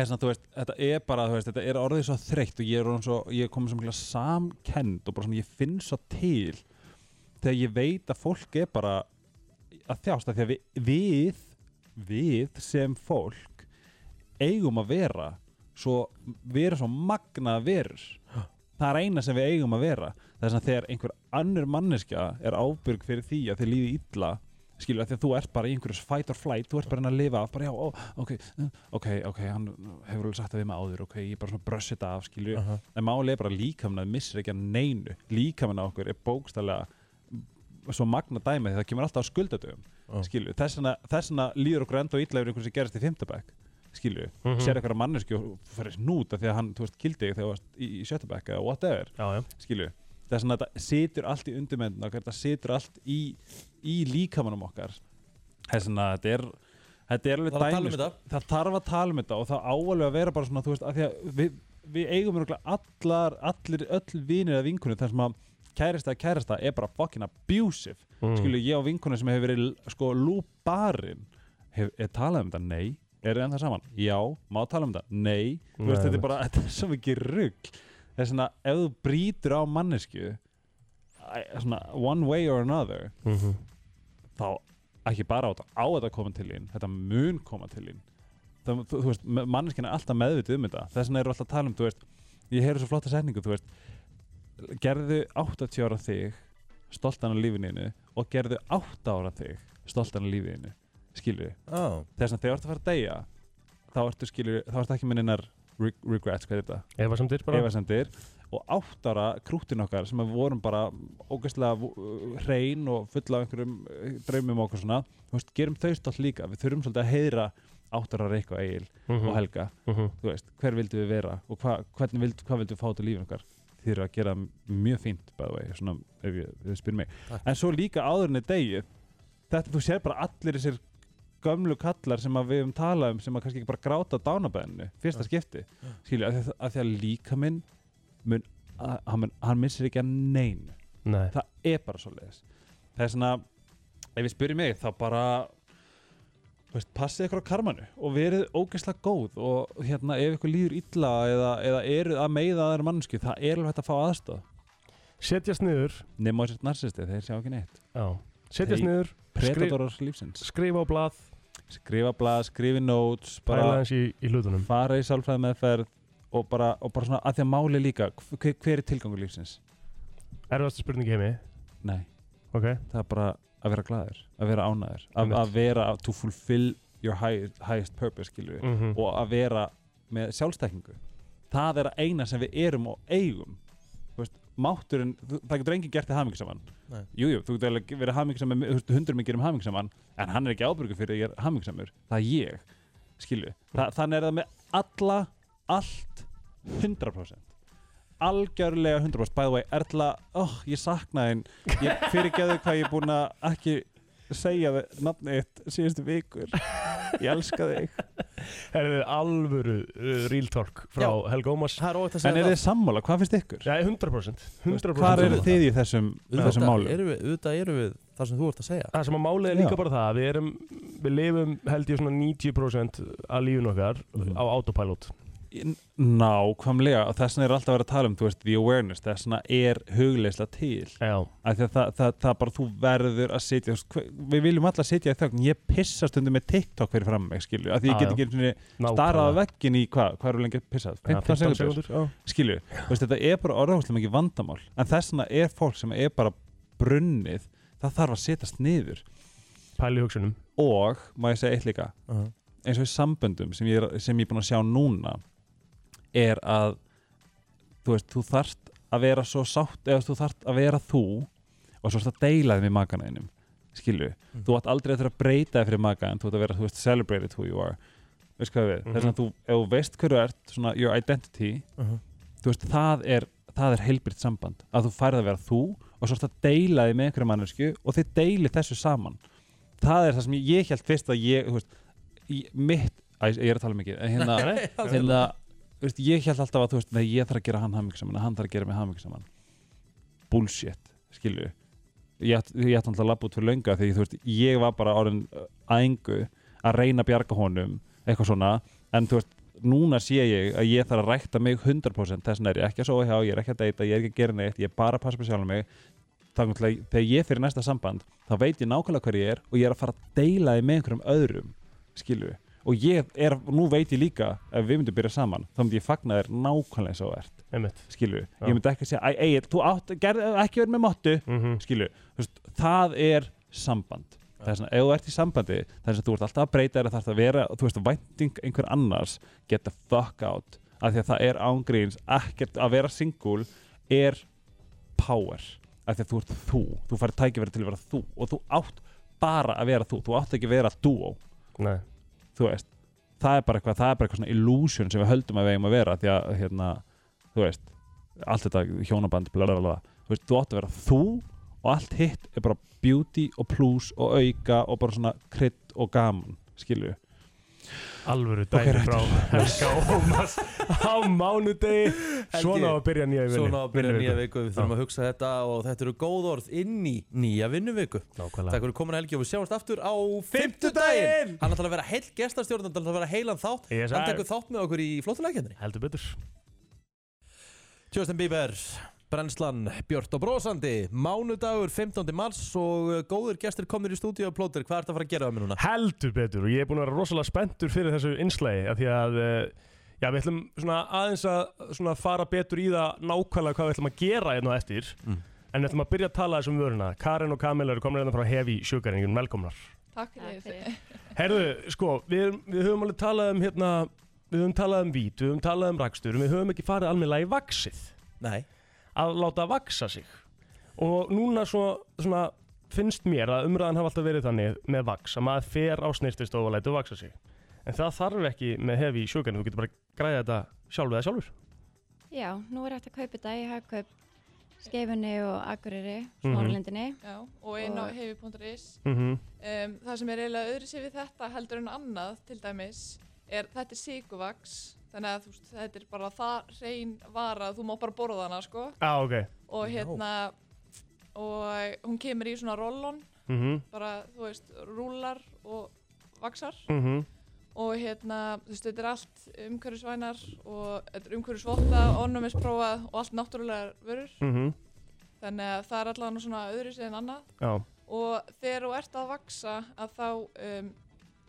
K: Hesna, veist, þetta er bara, þú veist, þetta er orðið svo þreytt og ég er, orðinn svo, ég er komið svo mikla samkend og bara svona, ég finn svo til þegar ég veit að fólk er bara að þjásta því að við, við, við sem fólk eigum að vera svo, við erum svo magna verur það er eina sem við eigum að vera þess að þegar einhver annur manneskja er ábyrg fyrir því að þið líði illa skilur að því að þú ert bara í einhverjus fight or flight þú ert bara að reyna að lifa af, bara já, ó, ok uh, ok, ok, hann hefur alveg sagt það við mig áður ok, ég er bara svona brössið af, skilur
B: Aha.
K: en málið er bara að líkamnað missir ekki að neinu líkamnað okkur er bókstælega svo magna dæmi því það kemur alltaf á skuldadöfum
B: Já.
K: skilju, þess vegna- þess vegna líður okkur enda og illa yfir einhvern sem gerist í fimmtabæk skilju, mm
B: Mhm.
K: -hmm. sér eitthvað manneski og fyrir snúta því að hann, þú veist, kildi þig þegar þú varst í, í sjötabæk eða whatever
B: já, já.
K: skilju, það er svona að þetta situr allt í undirmyndin okkar, þetta situr allt í, í líkamanum okkar það er svona, þetta er þetta er alveg
A: Þarf að tala um
K: dæmi,
A: þetta.
K: sko. það þarf að tala um þetta og það áalveg að vera bara svona, þú veist, að því að við, við eigum örugglega allar, allir, öll vinir eða vinkunir þar sem að kærista að kærista er bara fucking abusive
B: Mm.
K: skilju, ég og vinkunir sem hefur verið sko lúbarinn, hef, er talað um þetta, nei er það saman, já, má tala um þetta, nei, nei
B: Nei,
K: veist, þetta er
B: einmitt.
K: bara, (laughs) þetta er svo mikið rugg það er svona, ef þú brýtur á mannesku svona, one way or another
B: Mhm.
K: þá ekki bara á þetta, á þetta að koma til þín þetta mun koma til þín það, þú, þú veist, manneskina er alltaf meðvitið um þetta þess vegna eru alltaf að tala um, þú veist ég heyrðu svo flotta setningu, þú veist gerðu 80 ára þig stoltan af lífininu og gerðu 8 ára þig stoltan af lífininu skilur þið
A: oh.
K: þess vegna þegar þú ert að fara að deyja þá ertu skilur, þá ertu ekki með neinar reg- regrets, hvað er þetta?
B: Efasemdir bara.
K: Efasemdir og átt ára krútin okkar sem við vorum bara ógeðslega vo- uh, hrein og fulla af einhverjum uh, draumum og okkur svona þú veist, gerum þau stótt líka, við þurfum svolítið að heyra áttarar eitthvað eigil
B: Mhm.
K: og helga
B: Mhm.
K: þú veist, hver vildu við vera og hva, hvernig vildu, hvað vildu við fá til lífin okkar þið eru að gera mjög fínt by the way, svona ef ég, ef ég spyr mig en svo líka áður en degi þetta þú sér bara allir þessir gömlu kallar sem að við höfum talað um sem að kannski ekki bara gráta á dánabæðinu fyrsta
B: Já.
K: skipti
B: Já.
K: skilja, að, að því að líka minn mun, að, hann, mun, hann missir ekki að neinu
B: Nei.
K: það er bara svo leiðis það er svona, ef ég spyrir mig þá bara þú veist, passið ykkur á karmanu og verið ógeðslega góð og hérna ef ykkur líður illa eða, eða eruð að meiða aðra mannsku það er alveg hægt að fá aðstof
B: setjast niður
K: nema þessir narsisti, þeir sjá ekki neitt
B: já. setjast
K: Þeir-
B: niður
K: predatórar lífsins
B: skrifa á blað
K: skrifa blað, skrifa í notes bara-
B: Pæla aðeins í- í hlutunum.
K: fara í sálfræði meðferð og bara, og bara svona að því að máli líka hver, hver er tilgangur lífsins?
B: erfastu spurningi heimi
K: Nei
B: ok
K: það er bara að vera glaður, að vera ánæður að,
B: Einmitt.
K: að vera to fulfill your highest, highest purpose skilju
B: Mhm.
K: og að vera með sjálfstækningu það er að eina sem við erum og eigum Þú veist, mátturinn, þú- það getur enginn gert þið hamingu saman
A: Nei.
K: jújú, þú getur alveg verið hamingu saman hundur mig gerum hamingu saman um en hann er ekki ábyrgur fyrir að ég er hamingu samur það er ég, skilju Þa, þannig er það með alla, allt 100% algjörlega 100% by the way, Erla, oh, ég sakna þín ég fyrirgeðu hvað ég er búin að ekki segja þið nafnið þitt síðustu vikur ég elska þig
B: Herðu alvöru uh, real talk frá
K: Já.
B: Helga Ómas
K: en er þið sammála, hvað finnst ykkur?
B: Já, 100%, 100%
K: Hvar eru þið í þessum,
B: Auðvitað
K: þessum málum?
A: erum við, auðvitað erum við þar sem þú ert að segja
B: Það sem að málið er líka bara það að Við erum, við lifum held ég svona 90% af lífun okkar á autopilot
K: Nákvæmlega og þess vegna er alltaf að vera að tala um þú veist, the awareness, þess vegna er hugleisla til
B: Já
K: að það, það, það, það bara þú verður að sitja þú veist, hve- við viljum alla sitja í þögn ég pissa stundum með TikTok fyrir fram mig skilju, að því
B: Já,
K: ég get
B: já.
K: ekki einu sinni
B: Nákvæmlega.
K: starað á veggin í hvað, hvað eru lengi að pissa 15
B: 15
K: sekundur,
B: sekúndur,
K: skilju Þú veist, þetta er bara orðháslega mikið vandamál en þess vegna er fólk sem er bara brunnið, það þarf að setjast niður
B: pæli hugsunum
K: og má ég segja eitt líka
B: Mhm.
K: eins og í samböndum sem ég, er, sem ég er búin að sjá núna er að þú veist, þú þarft að vera svo sátt eða þú þarft að vera þú og svo ertu að deila þeim í makanæðinum skilju, þú átt aldrei að þurfa að breyta þér fyrir makan, þú átt að vera, þú veist, celebrated who you are veist hvað við, mm -hmm.
B: Mhm.
K: þess að þú ef þú veist hverju ert, svona your identity
B: Mhm.
K: þú veist, það er það er heilbritt samband að þú færð að vera þú og svo ertu að deila því með einhverju mannesku og þið deilir þessu saman það er það sem ég held fyrst að ég, þú veist, ég mitt Æ, ég er að tala mikið en hérna,
E: Nei, nei, alls
K: hérna þú veist, ég held alltaf að þú veist, nei, ég þarf að gera hann hamingi saman hann þarf að gera mig hamingi saman bullshit, skilju ég ætti ég ætti alltaf að labba út fyrir lönga því þú veist, ég var bara orðin uh, að engu að reyna að bjarga honum eitthvað svona, en þú veist núna sé ég að ég þarf að rækta mig 100% þess vegna er ég ekki að sofa hjá, ég er ekki að deyta ég er ekki að gera neitt, ég er bara að passa mig sjálf mig þannig að þegar ég fyrir næsta samband þá veit ég nákvæmlega hver ég er og ég er að fara að deila þið með einhverjum öðrum skilju, og ég er, nú veit ég líka ef við myndum byrja saman, þá myndi ég fagna þér nákvæmlega eins og þú ert
B: Einmitt.
K: skilju,
B: Já.
K: ég myndi ekki að segja "Æ, Egil, þú átt, gerð, ekki verið með mottu mm
B: Mhm.
K: -hmm. skilju, Þú veist, það er samband, það er svona, ef þú ert í sambandi það er svona, þú ert alltaf að breyta þér það þarf að vera, þú veist, vænting einhver annars get the fuck out, af því að það er ángríns, ekkert að vera single er power af því að þú ert þú, þú færi tækifæri til að vera þú og þú átt bara að vera þú þú átt ekki að vera duo
B: Nei.
K: þú veist, það er bara eitthvað það er bara eitthvað svona illusion sem við höldum að við eigum að vera því að, hérna, þú veist allt þetta hjónaband, blablabla þú veist, þú átt að vera þú og allt hitt er bara beauty og plus og auka og bara svona krydd og gaman skilju
B: Alvöru
K: Ok,
B: dæmi
K: rættur.
B: frá Helga Ómas á mánudegi Svona á að byrja nýja vinnu
A: Svona á að byrja nýja viku, við þurfum að hugsa þetta og þetta eru góð orð inn í nýja vinnuviku Nákvæmlega Takk fyrir komin Helgi og við sjáumst aftur á fimmtudaginn Hann ætlar að vera heil gestastjórn, hann ætlar að vera heilan þátt
B: Yes,
A: Hann
B: sir.
A: tekur þátt með okkur í flottulegkendri
B: Heldur betur
A: Justin Bieber, Brennslan, Björn og Brósandi Mánudagur, 15. mars og uh, góðir gestir komnir í stúdíu og plótir Hvað ertu að fara að gera um mér núna?
B: Heldur betur og ég er búin að vera rosalega spenntur fyrir þessu innslægi af því að eh, já, við ætlum svona aðeins að svona fara betur í það nákvæmlega hvað við ætlum að gera hérna á eftir en við ætlum að byrja að tala þessum vöruna Karin og Kamil eru komin hérna frá Heavy Sugaringin, velkomnar
F: Takk fyrir.
B: Herðu, sko, við, erum- við höfum alveg talað um hérna, við höfum talað um vít, við höfum talað um rakstur, við höfum ekki farið almennilega í vaksið.
A: Nei.
B: Að láta vaksa sig. Og núna svo, svona, finnst mér að umræðan hafa alltaf verið þannig með vaks, að maður fer á snirtistof og lætur vaksa sig. En það þarf ekki með hefi í sjögarni, þú getur bara græða þetta sjálf eða sjálfur.
F: Já, nú er hægt að kaupa þetta í hagkaup skeifunni og akureyri,
B: Mhm.
F: smáralindinni.
L: Já, og inn á hefi.is
B: Mhm.
L: um, Það sem er eiginlega öðru sér við þetta heldur en annað til dæmis er þetta er siguvaks þannig að þú, veist, þetta er bara það reyn vara þú má bara borða hana sko
B: Á, ok.
L: og hérna og hún kemur í svona rollon
B: Mhm.
L: bara þú veist rúlar og vaksar
B: Mhm.
L: og hérna þú veist þetta er allt umhverfisvænar og þetta er umhverfisvotta, onnumisprófað og allt náttúrulegar vörur
B: Mhm.
L: þannig að það er allavega svona öðru sér en annað
B: Já.
L: og þegar þú ert að vaksa að þá um,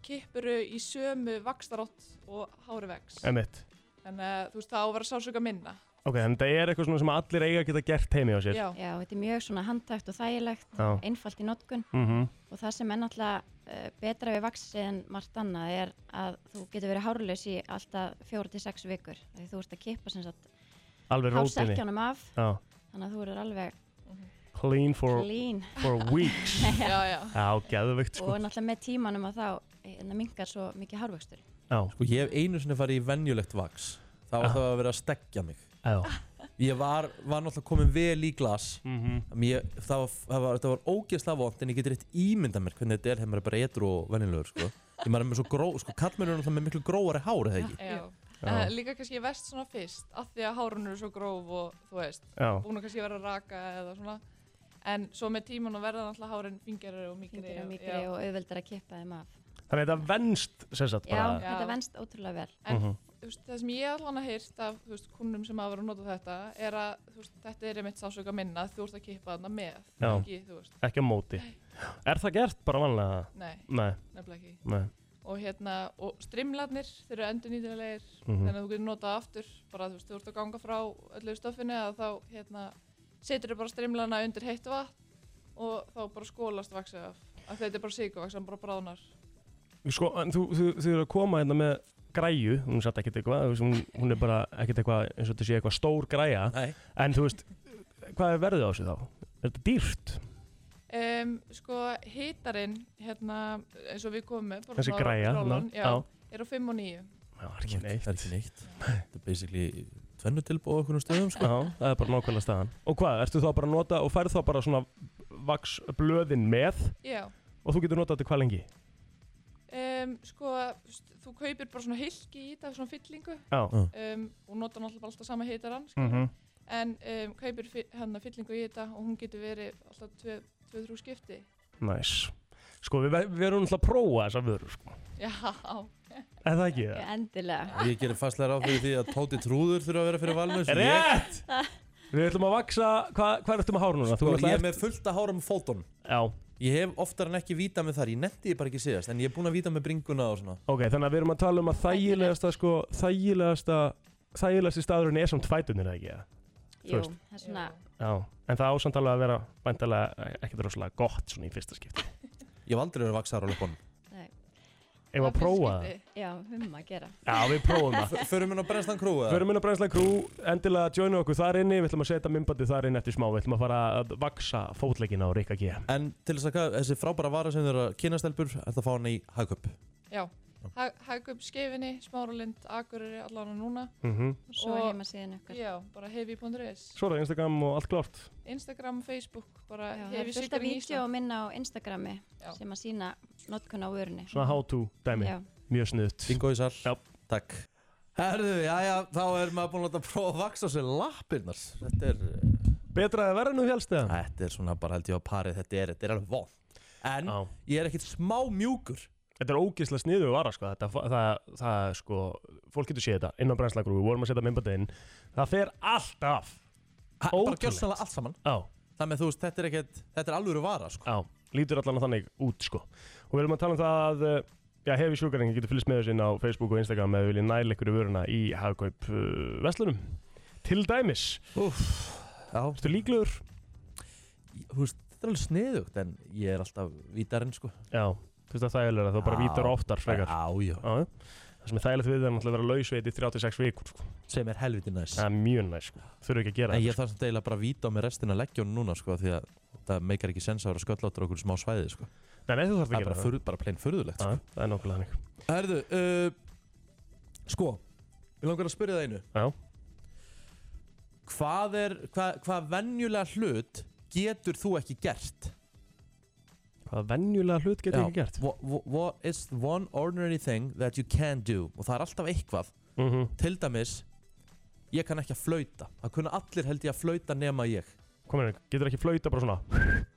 L: kippuru í sömu vakstarátt og hári vex
B: Einmitt.
L: þannig að þú veist það á að vera sásuga minna
B: Ok, þannig að þetta er eitthvað svona sem allir eiga að geta gert heimi á sér.
F: Já, þetta er mjög svona handtækt og þægilegt,
B: Já.
F: einfalt í notkun.
B: Mhm.
F: Og það sem er náttúrulega uh, betra við vaxið en margt annað er að þú getur verið hárlaus í alltaf fjóra til sex vikur. Þegar þú ert að kippa sem sagt
B: Alveg rótinni.
F: hársekkjanum af,
B: Já.
F: þannig að þú eru alveg
B: Clean for,
F: Clean. (laughs)
B: for weeks.
F: Já, já.
B: Já, geðveikt, sko.
F: og náttúrulega með tímanum að þá hérna, mingar svo mikið hárvöxtur.
B: Já.
A: Sko ég hef einu sinni farið í venjulegt vaks Það var
B: Já.
A: það að vera að stekja mig
B: Já.
A: Ég var, var náttúrulega komin vel í glas
B: Mhm.
A: mm ég, það, var, það var, þetta var ógeðslega vond En ég getur eitt ímyndað mér hvernig þetta er Þegar maður er bara etru og venjulegur sko. Ég maður er með svo gró, sko kallmennur er náttúrulega með miklu gróari hár eða ekki
L: Já. En líka kannski vest svona fyrst af því að hárun eru svo gróf og þú veist
A: Já.
L: búin að kannski vera að raka eða svona en svo með tíman verða náttúrulega hárin fingeri og mikri
F: Þyngri og mikri og auðveldar að kippa þeim af.
B: Þannig að þetta venst, sem sagt,
F: Já,
B: bara.
F: þetta venst ótrúlega vel.
L: en
B: Mhm.
L: þú veist, það sem ég allan að heyrt af þú veist, kunnum sem hafa verið að nota þetta er að þú veist, þetta er einmitt sásöka minna þú ert að kippa þarna með
B: Já.
L: ekki, þú veist,
B: Ekki á móti. Er það gert bara vanlega?
L: nei,
B: Nei.
L: nefnilega ekki
B: Nei.
L: og hérna, og strimlarnir þeir eru endurnýtilegir,
B: Mhm.
L: þannig að þú getur notað aftur bara þú veist, þú ert að ganga frá öllu stöffinu að þá hérna, setur þau bara strimlana undir heitt vatn og þá bara skólast vaksið af að þetta er bara sigurvaks, hann bara bráðnar
B: Sko, en þú, þú, þú eru að koma hérna með græju, hún satt ekkert eitthvað, þú veist, hún, hún er bara ekkert eitthvað, eins og þetta sé eitthvað stór græja.
A: Nei.
B: En þú veist, hvað er verðið á þessu þá? Er þetta dýrt?
L: Um, sko, hýtarinn, hérna, eins og við komum með, bara
B: Þessi
L: svona
B: græja,
L: rólan,
B: þarna,
L: já,
B: já.
L: er á 5 og 9.
B: Já, það er ekki neitt.
A: Það er ekki neitt Þetta er basically tvennu tilbúið á okkur um stöðum sko.
B: Já, það er bara nákvæmlega staðan Og hvað, ertu þá bara að nota og færð þá bara svona vaksblöðin með
L: Já.
B: Og þú getur notað þetta hvað lengi?
L: Um, sko, þú veist, þú kaupir bara svona hilki í þetta, svona fyllingu
B: Já.
L: um, og notar náttúrulega bara alltaf sama hitaran mm
B: Mhm.
L: en um, kaupir fi- hérna fyllingu í þetta og hún getur verið alltaf 2-3 skipti
B: Næs Sko, við, ve- við erum náttúrulega að prófa sko. þessa vöru sko.
L: Já, (laughs)
B: Er það ekki það?
F: Endilega
A: Ég gerir fastlega ráð fyrir því að Tóti Trúður þurfa að vera fyrir valinu sko.
B: Rétt! Við ætlum að vaksa, hvað, hvað ertu með hár núna?
A: Sko,
B: Þú
A: ég
B: náttúrulega
A: er með fullt að hára með fótón
B: Já
A: Ég hef oftar en ekki vita með þar, ég netti ég bara ekki síðast En ég er búinn að vita með bringuna og svona
B: Ok, þannig að við erum að tala um að þægilegasta sko, þægilegasta þægilegasti staðurinn er samt fætunir ekki eða? Þú
F: Jú,
B: veist,
F: það er svona
B: Já, en það ásamt alveg að vera bæntalega ekkert rosalega gott svona í fyrsta skipti
A: Ég hef aldrei verið að vaksa þar á löpunum
F: nei.
B: Ef að prófa það
F: Já, við maður að gera
B: Já, við prófum það
A: F- Förum inn á Brennslan Crew eða?
B: Förum inn á Brænslan Crew, endilega joinu okkur þar inni Við ætlum að setja mymbandi þar inn eftir smá Við ætlum að fara að vaksa fótleggina á Rikka G
A: En til þess að hvað, þessi frábæra vara sem þau eru að kynastelpur Þetta fá hann í hagköp
L: já. Hæg upp skeifinni, smáralind, akureyri allan og núna
B: Mhm.
F: Og svo heimasíðan okkar.
L: Já, bara hefi.is
B: Svo er það Instagram og allt klárt
L: Instagram, Facebook, bara
F: Já, Það
L: hefi
F: er fullt af
L: sigurinn í
F: vídeo
L: Ísland
F: minna á Instagrami sem að sína notkun á vörunni
B: Svona how to dæmi
F: Já.
B: Mjög sniðt
A: Bingo í sal
B: Já
A: Takk Herðu, jæja, þá er maður búinn að láta prófa að vaksa á sér lappirnar Þetta er eh,
B: Betra að vera nú helst eða?
A: Þetta er svona bara held ég á parið, þetta er, þetta er alveg vond En ég er ekkert smá mjúkur
B: Þetta er ógeðslega sniðu vara sko Þetta, það, það, það sko, fólk getur séð þetta inn á brennslagrú Við vorum að setja mymbandi inn Það fer allt af
A: ha, Bara gjörsanlega allt saman
B: Já
A: Þannig að þú veist, þetta er ekkert, þetta er alvöru vara sko
B: Já, lítur allan að þannig út sko Og við erum að tala um það að uh, Já, hefi sjúkaringi getur fylgst með þessu inn á Facebook og Instagram eða viljið næla ykkur í vöruna í hagkaup uh, veslunum Til dæmis
A: Úff, já
B: Ertu líklegur?
A: Þú veist, þetta er alveg sniðugt en ég er alltaf vítarinn sko
B: Já, þú veist að það er þægilega þá bara
A: Já.
B: vítar oftar frekar
A: Já, já
B: Það sem er þægilegt við það er náttúrulega að vera lausveit í 36 vikur sko.
A: Sem er helviti næs
B: Það er mjög næs sko, þurfa ekki að gera
A: En
B: þetta,
A: ég þarf samt eiginlega bara að víta á mig restina af leggjónu núna sko því að það meikar ekki sens að vera sköllátur okkur smá svæði sko
B: Nei, nei, þú
A: Það
B: þarf að
A: er
B: gera
A: bara,
B: það.
A: furð, bara plain furðulegt
B: sko. Það er nokkulega hannig
A: Herðu, uh, sko Ég langar að spyrja það einu
B: Já
A: Hvað er, hvað, hvað venjulega hlut getur þú ekki gert?
B: Hvaða venjulega hlut getur
A: Já,
B: ekki gert?
A: What, what- what is the one ordinary thing that you can do? Og það er alltaf eitthvað
B: Mhm.
A: Til dæmis Ég kann ekki að flauta Það kunna allir held ég að flauta nema ég
B: Komir, hérna, getur ekki flauta bara svona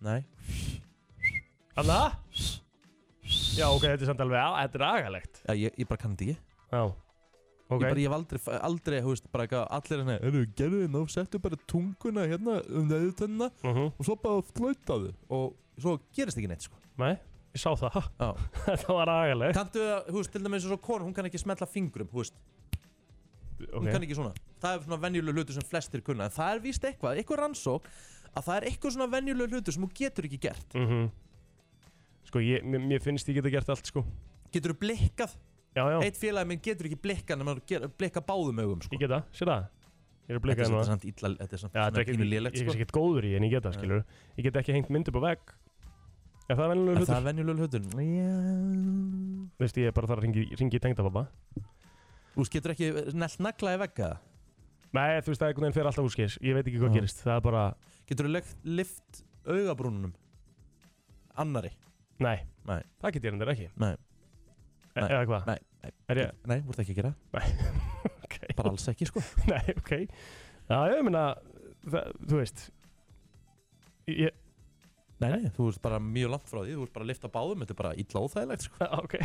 A: Nei
B: Anna? Já, ok, þetta er samt alveg, á- þetta er agalegt
A: Já, ég, ég bara kann þetta ekki
B: Já
A: Ég, bara, ég hef aldrei, aldrei þú veist, bara eitthvað Allir hérna, eru, gerðu þið ná, settu bara tunguna hérna um neðutönna
B: mhm.
A: Og svo bara flautaðu Og svo gerist ekki neitt, sko
B: Nei, ég sá það
A: Já
B: (laughs) Þetta var agalegt
A: Kanntu það, þú veist, til dæmis eins og konu, hún kann ekki smetla fingrum, þú veist Hún
B: Ok.
A: kann ekki svona Það er svona venjuleg hlutu sem flestir kunna En það er víst eitthvað, eitthvað rannsók Að það er eitthvað svona venjuleg hlutu sem hún getur ekki gert
B: mm Sko, ég, mér, mér finnst ég geta gert allt sko
A: Getur þú blikkað?
B: Já, já
A: Eitt félagi minn getur ekki blikkað nema að gera- blikka báðum augum, sko
B: Ég geta, sé það Ég er að blika
A: Þetta er
B: núna.
A: samt- samt illa- þetta er samt
B: Já,
A: svona
B: þetta er
A: pínu
B: ekkert
A: lélegt,
B: lélegt Ég
A: sko.
B: er ekkert góður í en ég geta, skilur Ég get ekki hengt mynd upp á vegg Er það venjulegur
A: Er
B: hlutur?
A: það venjulegur hlutur? Já
B: Þú veist, ég er bara þar að ringi, ringi í tengdapappa
A: Þú veist, getur ekki nelt nagla í vegga?
B: Nei, þú veist, það einhvern veginn fer alltaf úrskis Ég veit ekki hvað
A: Já.
B: gerist, það er bara
A: Getur þú lift augabrúnunum? Annari?
B: Nei,
A: Nei.
B: það get ég hendur ekki
A: Nei
B: E- Eða hvað?
A: Nei, nei,
B: Er ég-
A: nei, þú ert ekki að gera
B: Nei, ok
A: Bara alls ekki, sko
B: (laughs) Nei, ok Já, ég meina, það, þú veist Ég,
A: Nei, nei, þú ert bara mjög langt frá því Þú ert bara að lifta báðum, þetta er bara illa óþægilegt, sko
B: Ok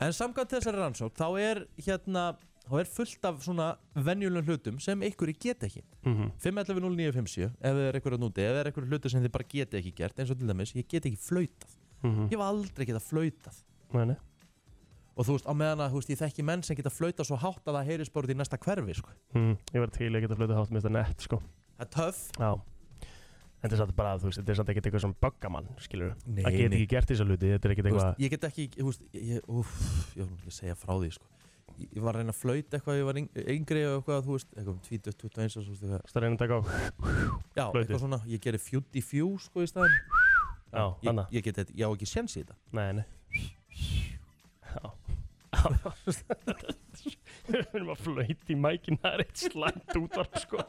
B: (laughs) En
A: samkvæmt þessari rannsók, þá er hérna Þá er fullt af svona venjulegum hlutum sem ykkur geta ekki
B: Mhm.
A: 511-0957 ef það er eitthvað núti ef það er eitthvað hlutur sem þið bara geta ekki gert eins og til dæmis, ég get ekki flautað
B: Mhm.
A: Ég hef aldrei geta flautað
B: Nei, nei.
A: og þú veist, á meðan að þú veist, ég þekki menn sem geta flautað svo hátt að það heyrist bara út í næsta hverfi sko.
B: Mm, ég var til að geta flötu hátt með þetta nett sko.
A: Það er töff
B: Já En þetta er samt bara, þú veist, þetta er samt ekkert eitthvað sem bugga mann, skilur
A: Nei,
B: Það get
A: nei.
B: ekki gert þessa hluti, þetta er ekkert
A: Þú
B: eitthvað
A: veist, ég get ekki, þú veist, ég, úf, ég var ekki að segja frá því sko. ég ég var að reyna að flauta eitthvað ég var yng- yngri og eitthvað, þú veist, eitthvað um 20, 21 og svo veist, eitthvað
B: Það reyna að taka á
A: Já,
B: flautu.
A: eitthvað svona, ég gerir fjúti fjú sko í staðin
B: Já,
A: ég,
B: annað.
A: ég get þetta, ég á ekki séns í þetta
B: Nei, nei Já Við erum að flöyti í mækin Það er eitt slæmt útvarp sko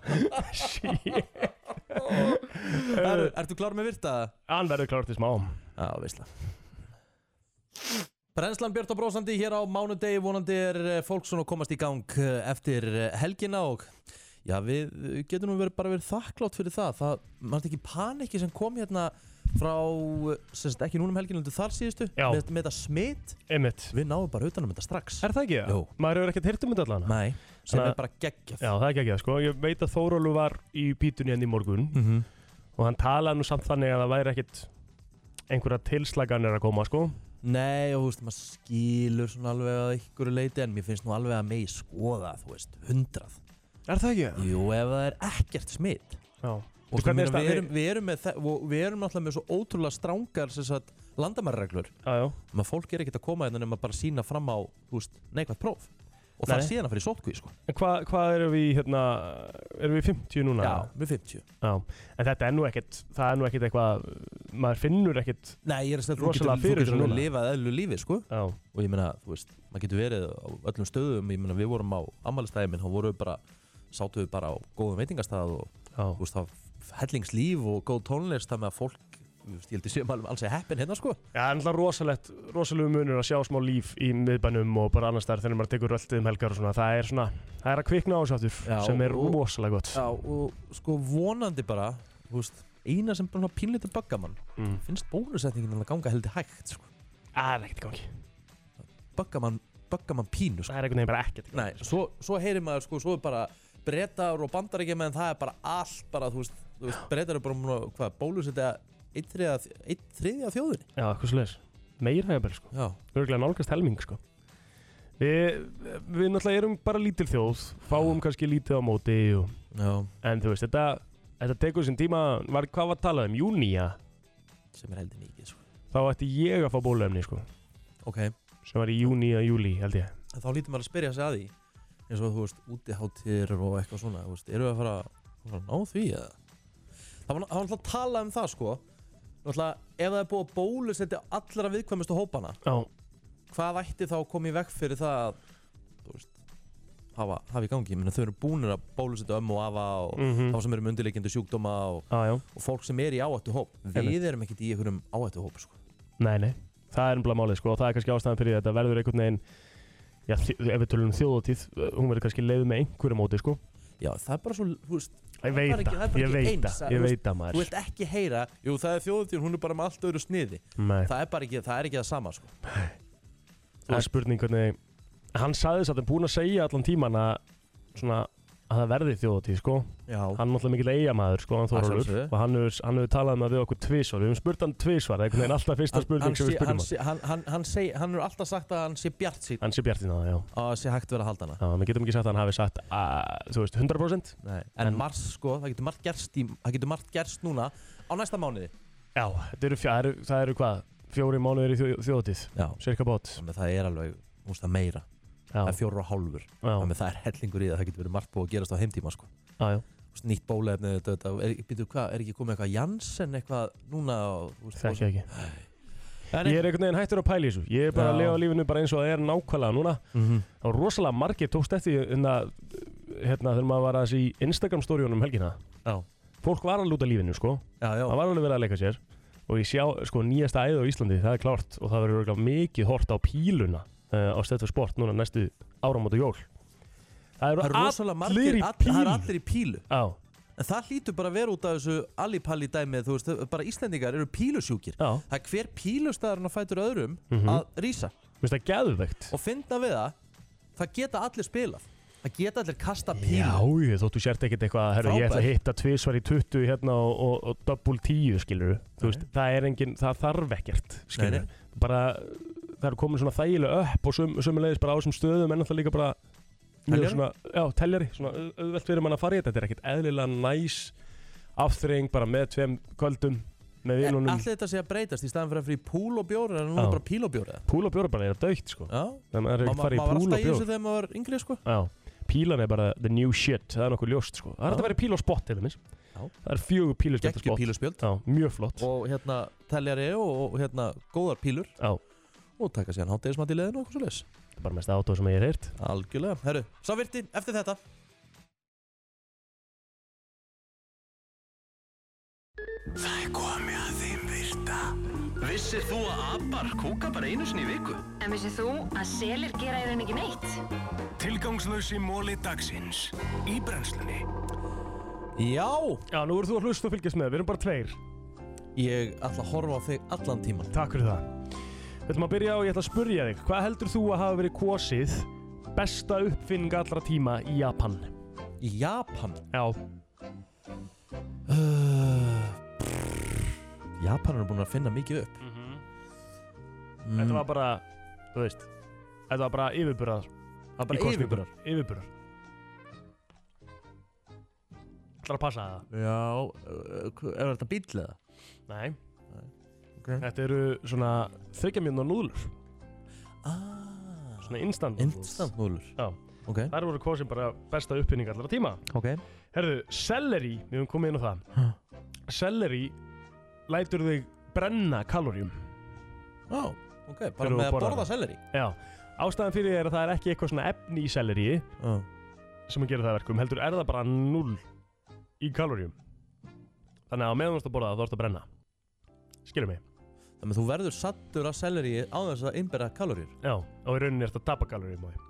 B: Shit Eh.
A: Er, ertu klár með virta?
B: Hann verður klár til smá
A: Já, veistla Brennslan Björn og Brósandi hér á mánudegi vonandi er eh, fólk svona að komast í gang eh, eftir eh, helgina og já við eh, getum nú verið bara verið þakklátt fyrir það það, mannst ekki paniki sem kom hérna frá, eh, sem sagt ekki núna um helgina heldur þar síðustu, já. með, með þetta smitt
B: Einmitt.
A: við náum bara utanum þetta strax
B: Er það ekki það? Jó. Maður hefur ekkert heyrt um þetta allan
A: Nei, sem er bara geggjað
B: Já, það er geggjað sko Ég veit að Þórólu var í pítunni henni í morgun
A: Mhm.
B: Og hann talaði nú samt þannig að það væri ekkert einhverja tilslaganir að koma sko
A: Nei, og þú veist, maður skilur svona alveg að ykkur leiti en mér finnst nú alveg að megi skoða, þú veist, hundrað.
B: Er það ekki?
A: Jú, ef það er ekkert smitt.
B: Já.
A: Og
B: Þú,
A: þú
B: hvernig
A: meina,
B: er
A: við
B: staðið-
A: erum, við erum með það, og við erum náttúrulega með svo ótrúlega strángar sem sagt landamærareglur.
B: Já, já.
A: Maður fólk er ekkert að koma hérna nema bara sína fram á, þú veist, neikvægt próf. Og það
B: Nei.
A: er síðan að fara í sótkví, sko.
B: En hvað hva erum við hérna Erum við 50 núna?
A: Já, við 50
B: Já, en þetta er nú ekkert Það er nú ekkert eitthvað Maður finnur ekkert
A: Nei, ég er að segja, þú
B: rosalega
A: getur, þú
B: fyrir
A: getur
B: þessu
A: alveg
B: núna
A: lifað eðlu lífi, sko.
B: Já.
A: Og ég meina, þú veist, maður getur verið á öllum stöðum, ég meina, við vorum á ammælistæði minn, þá vorum við bara, sátum við bara á góðum veitingastæð og,
B: Já. þú
A: veist, það hellingslíf og góð tónlist, það með að fólk, þú veist, ég held að séum alveg alls að heppin hérna, sko.
B: Já, en það er rosalegt, rosalegu munur að sjá smá líf í miðbænum og bara annars þar þegar maður tekur röltið um helgar og svona, það er svona, það er að kvikna á þessu aftur sem er
A: og-
B: rosalega gott.
A: Já, og sko vonandi bara, þú veist, eina sem bara pínlítið bagga mann,
B: Mm.
A: finnst bónusetningin að ganga heldur hægt, sko.
B: Það er ekkert í gangi.
A: Bagga mann, bagga mann pínu, sko.
B: Það er einhvern veginn bara ekkert.
A: Nei, svo, svo heyrir maður, sko, svo er bara breytar og bandar ekki með en það er bara allt, bara, þú veist, þú veist breytar er bara, búin að, hvað, bólusetja einn þriðja, einn þriðja af þjóðinni.
B: Já, eitthvað svolítið, meira hefur sko.
A: Já.
B: Örglega nálgast helming, sko. Við, við náttúrulega erum bara lítil þjóð, fáum kannski lítið á móti og...
A: Já.
B: En þú veist, þetta, þetta tekur sinn tíma, var, hvað var talað um, júnía?
A: Sem er heldur mikið, sko.
B: Þá ætti ég að fá bólefni, sko.
A: Ok.
B: Sem var í júni eða júli, held ég.
A: En þá lítur maður að spyrja sig að því, eins og þú veist, útiháttir og eitthvað svona, þú veist, eru við að fara, að fara að ná því eða? Það var það var náttúrulega að tala um það, sko. Náttúrulega, ef það er búið að bólusetja allra viðkvæmustu hópana,
B: Já.
A: hvað ætti þá að koma í vekk fyrir það að, þú veist, hafa, hafa í gangi? Ég meina, þau eru búinir að bólusetja ömmu og afa og
B: Mhm.
A: þá sem eru með undirleikjandi sjúkdóma og,
B: ah,
A: og fólk sem er í áættu hóp.
B: Einmitt.
A: Við erum ekkert í einhverjum áættu hóp, sko.
B: Nei, nei, það er ennbla málið sko og það er kannski ástæðan fyrir því að þetta verður einhvern veginn já, þi- ef við tölum um þjóðatíð uh, hún verður kannski leið með einhverju móti sko
A: Já, það er bara svo, þú veist
B: Ég
A: það er
B: veit
A: ekki- það er
B: það,
A: bara
B: ég
A: ekki
B: veit
A: eins,
B: það, ég
A: þú veist,
B: veit það
A: Þú
B: maður
A: vilt ekki heyra, jú það er þjóðutíð, hún er bara með allt öðru sniði
B: Nei.
A: Það er bara ekki það, er ekki það sama sko.
B: Það er spurning hvernig hann sagði þess að hann búin að segja allan tíman að svona að það verði þjóðatíð sko
A: Já.
B: hann er náttúrulega mikil eigamæður sko hann
A: Að
B: Þórólfur
A: sjálfsögðu.
B: og hann hefur, hann hefur talað um það við okkur tvísvar við hefum spurt hann tvísvar, það er einhvern veginn alltaf fyrsta
A: hann,
B: spurning sem
A: sé,
B: við
A: hann,
B: spurning
A: sé, hann, hann, hann, seg, hann er alltaf sagt að hann sé bjart sín
B: hann sé bjartinn á það, já
A: að sé hægt verið að halda hana
B: Já, við getum ekki sagt að hann hafi sagt að, þú veist, 100%
A: Nei, en, mars sko, það getur margt gerst, í, það getur margt gerst núna á næsta mánuði
B: Já, þetta eru, fjá, það eru, það eru hvað, fjóri mánuðir í þjó, þjóðatíð
A: Já.
B: Cirka bát
A: Þannig að það er alveg, þú veist það meira
B: Já.
A: Það er fjóra og hálfur Já. Þannig að það er hellingur í það, það getur verið margt búið að gerast á heimtíma sko.
B: Já, já.
A: Þú veist, Nýtt bólefni, þetta, þetta, er, býtu, hvað, er ekki komið eitthvað Janssen eitthvað núna og, þú veist,
B: Þekki
A: og-
B: ekki.
A: En
B: Ég er einhvern veginn hættur að pæla í þessu Ég er bara
A: Já.
B: að lifa lífinu bara eins og það er nákvæmlega núna
A: Mhm.
B: Og rosalega margir tókst eftir hérna, hérna þegar maður var aðeins í Instagram storyunum um helgina
A: Já
B: Fólk var alveg út af lífinu sko
A: Já, já
B: Það var alveg verið að leika sér Og ég sjá sko nýjasta æði á Íslandi, það er klárt Og það verður örugglega mikið hort á píluna uh, Á stöðt fyrir sport núna næstu áramót og jól Það eru
A: Það eru rosalega
B: allir
A: margir,
B: í
A: all,
B: pílu
A: það eru allir í pílu
B: Já
A: En það hlýtur bara að vera út af þessu alipalli dæmið, þú veist, bara Íslendingar eru pílusjúkir
B: Já
A: Það er hver pílustæðarinn að fætur öðrum
B: Mhm.
A: að rýsa
B: Vist það geðvegt
A: Og finna við það, það geta allir spilað Það geta allir kasta pílu
B: Já, ég, þóttu sért ekkert eitthvað herru, Ég ætla að
A: Frábært.
B: hitta tvisvar í 20 hérna og, og, og double 10 skilur Þú veist, það er engin, það þarf ekkert skilur
A: Nei,
B: Bara, það er komin svona þægilega upp og sum, sumulegis bara á þessum stöðum en alltaf líka bara mjög
A: Teljari?
B: Svona, já, teljari, svona au- auðvelt fyrir mann að fara í þetta Þetta er ekkert eðlilega næs afþreying bara með tveim kvöldum með vinunum
A: Allir þetta sé að breytast í staðan fyrir að fyrir púl og bjór er núna
B: Já.
A: bara píl og bjór eða
B: Púl og bjóra bara er dögt sko
A: Já
B: Það er
A: Ma-
B: ekkert farið
A: ma- Maður var
B: í
A: alltaf
B: púl og
A: í þessu
B: bjór
A: þegar maður var yngri sko
B: Já, pílan er bara the new shit, það er nokkuð ljóst sko Það er hægt að vera í píl og spott til dæmis Það er fjögur píluspjöld
A: Geggjum píluspjöld
B: Já, mjög flott
A: Og hérna teljari og, og hérna góðar pílur
B: Já
A: Og taka sér hann hátdegismat í leðinu og okkur svo leis
B: Þetta er bara mest átóð sem ég er heyrt
A: Algjörlega, herru, sá virti eftir þetta
M: Það er komið að þeim virta Vissir þú að abar kúka bara einu sinni í viku?
F: En vissið þú að selir gera í raun ekki neitt?
K: Tilgangslösi móli dagsins Í brennslunni
A: Já
B: Já, nú eru þú að hlusta og fylgjast með, við erum bara tveir
A: Ég ætla að horfa á þig allan tíman
B: Takk fyrir það Við ætlum að byrja á, ég ætla að spurja þig Hvað heldur þú að hafa verið kosið Besta uppfinning allra tíma í Japan?
A: Í Japan?
B: Já
A: Uh, Japanar er búin að finna mikið upp Mm.
B: Þetta var bara, þú veist Þetta var bara yfirburðar Það var bara kosningur.
A: Yfirburðar?
B: Yfirburðar Ætlar að passa það?
A: Já, uh, er þetta bíll eða?
B: Nei, Þetta eru svona þryggja mjönda núðlur ah. Svona instant núðlur
A: Instant núðlur
B: Já
A: Ok.
B: Þær voru kosin bara besta uppfinning allra tíma
A: Ok
B: Herðu, celery, við höfum komið inn á það Celery lætur þig brenna kaloríum
A: Já, ok, bara með að borða selleri
B: Já, ástæðan fyrir því er að það er ekki eitthvað svona efni í selleri
A: Já.
B: sem að gera það að verkum, heldur er það bara null í kaloríum Þannig að á meðan þú ert að borða það, þú ert að brenna Skilur mig
A: Þannig að þú verður sattur af selleri á þess að innbera kaloríur
B: Já, og í rauninni ert að tapa kaloríum á því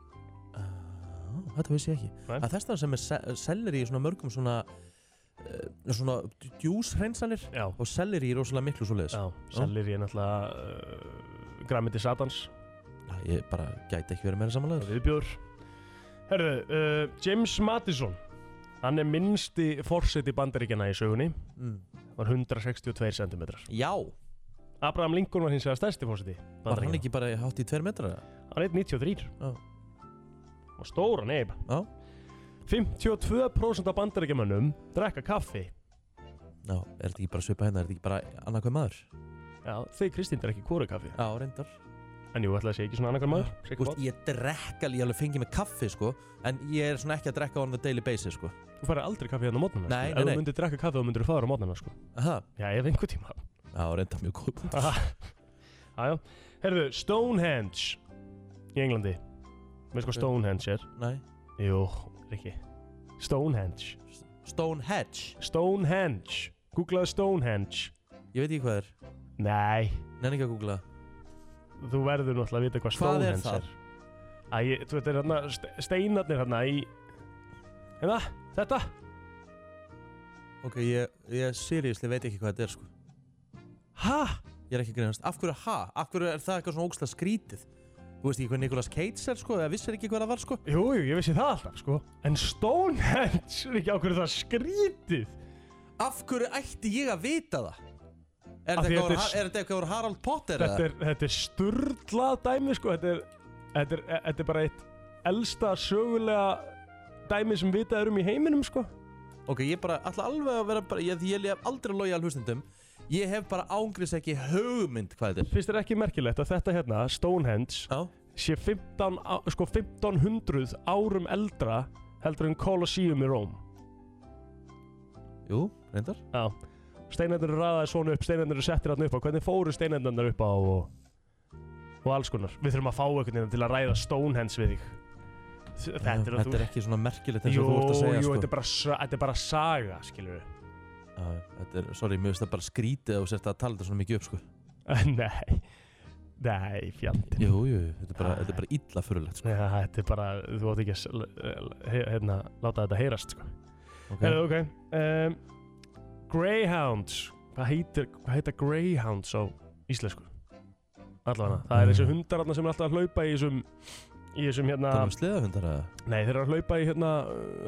A: Þetta vissi ég ekki Nei. Að þess það sem er se- selleri í svona mörgum svona uh, svona djúshreinsanir
B: Já.
A: og selleri í rosalega miklu svo leiðis
B: Já, Selleri er náttúrulega uh, græmiti satans
A: Ég bara gæti ekki verið meira samanlegaður
B: Viðbjóður Herðu, uh, James Madison Hann er minnsti forseti bandaríkjana í sögunni
A: Mm.
B: Var 162 cm
A: Já
B: Abraham Lincoln var hins vegar stærsti forseti
A: Var hann
B: Bandaríkjanna.
A: ekki bara hátt í 2 metra?
B: Hann er 1,93
A: Já.
B: Og stóra neyb
A: Já
B: 52% af bandaríkjamönnum drekka kaffi
A: Já, er þetta ekki bara svipa hérna, er þetta ekki bara annarkvæm maður?
B: Já, þau Kristín drekki kóra kaffi
A: Já, reyndar
B: En jú, ætlaði að sé ekki svona annarkvæm maður
A: Þú veist, ég drekka, ég alveg fengi mig kaffi sko En ég er svona ekki að drekka on the daily basis sko
B: Þú færi aldrei kaffi hérna á
A: Nei,
B: mótnana sko.
A: nei,
B: Ef
A: nei.
B: þú myndir drekka kaffi þá myndir þú fara á mótnana sko.
A: Aha.
B: Já, ef einhver tíma
A: Já, reynda mjög góð
B: Jájá Herðu, Stonehenge Í Englandi Veist hvað Stonehenge er?
A: Nei
B: Jú, Rikki Stonehenge
A: Stonehenge
B: Stonehenge Googlaðu Stonehenge
A: Ég veit ekki hvað er
B: Nei
A: Nenni ekki að googla
B: Þú verður náttúrulega að vita hvað
A: Hvað er
B: Stonehenge
A: það?
B: er Æ, ég- þú veit, þetta er hérna st- Steinarnir hérna í Hérna, þetta
A: Ok, ég, ég seriously veit ekki hvað þetta er sko
B: Ha?
A: Ég er ekki að greinast Af hverju ha? Af hverju er það eitthvað svona ógstlega skrítið? Þú veist ekki hvað Nicolas Cage er sko Eða vissir ekki hvað það var sko
B: Jú, jú, ég vissi það alltaf sko En Stonehenge er ekki á hverju það skrítið
A: Af hverju ætti ég að vita það? Er
B: Af
A: þetta
B: því
A: eitthvað
B: þetta er
A: úr Ha-
B: s-
A: er þetta eitthvað úr Harald Potter
B: þetta
A: eða?
B: er, þetta er sturglað dæmi sko, þetta er, þetta, er, þetta er bara eitt elsta sögulega dæmi sem vitað er um í heiminum sko.
A: Ok, ég bara ætla alveg að vera bara, ég, ég hef aldrei logið al hlustendum Ég hef bara ángriðs ekki hugmynd hvað þetta er
B: Fyrst er ekki merkilegt að þetta hérna, Stonehenge,
A: Já.
B: sé 15, á- sko, 1500 árum eldra heldur en Colosseum í Róm.
A: Jú, reyndar.
B: Já, steinendur eru raðaði svona upp, steinendur eru settir hann upp á, hvernig fóru steinendur upp á og, og alls konar. Við þurfum að fá einhvern veginn til að ræða Stonehenge við þig. Þ- Þetta er, að
A: Þetta
B: þú-
A: er ekki svona merkilegt eins
B: Jú,
A: og þú ert að segja
B: jú,
A: sko.
B: þetta, er bara, sa- þetta er bara saga, skilur við
A: Já, já, þetta er, sorry, mér finnst það bara skrítið að þú sért að tala þetta svona mikið upp sko.
B: (laughs) Nei, nei, fjandi
A: Jú, jú, þetta er bara, þetta er bara illa fyrirlegt sko.
B: Já, þetta er bara, þú átt ekki að s- l- l- he- hérna, láta þetta heyrast sko.
A: Ok.
B: Heyrðu, ok um, Greyhounds Hvað heitir, hvað heita Greyhounds á íslensku? Allavega, það er þessi
A: Mm.
B: hundar þarna sem er alltaf að hlaupa í þessum í þessum hérna
A: Það er um sleðahundar eða?
B: Nei, þeir eru að hlaupa í hérna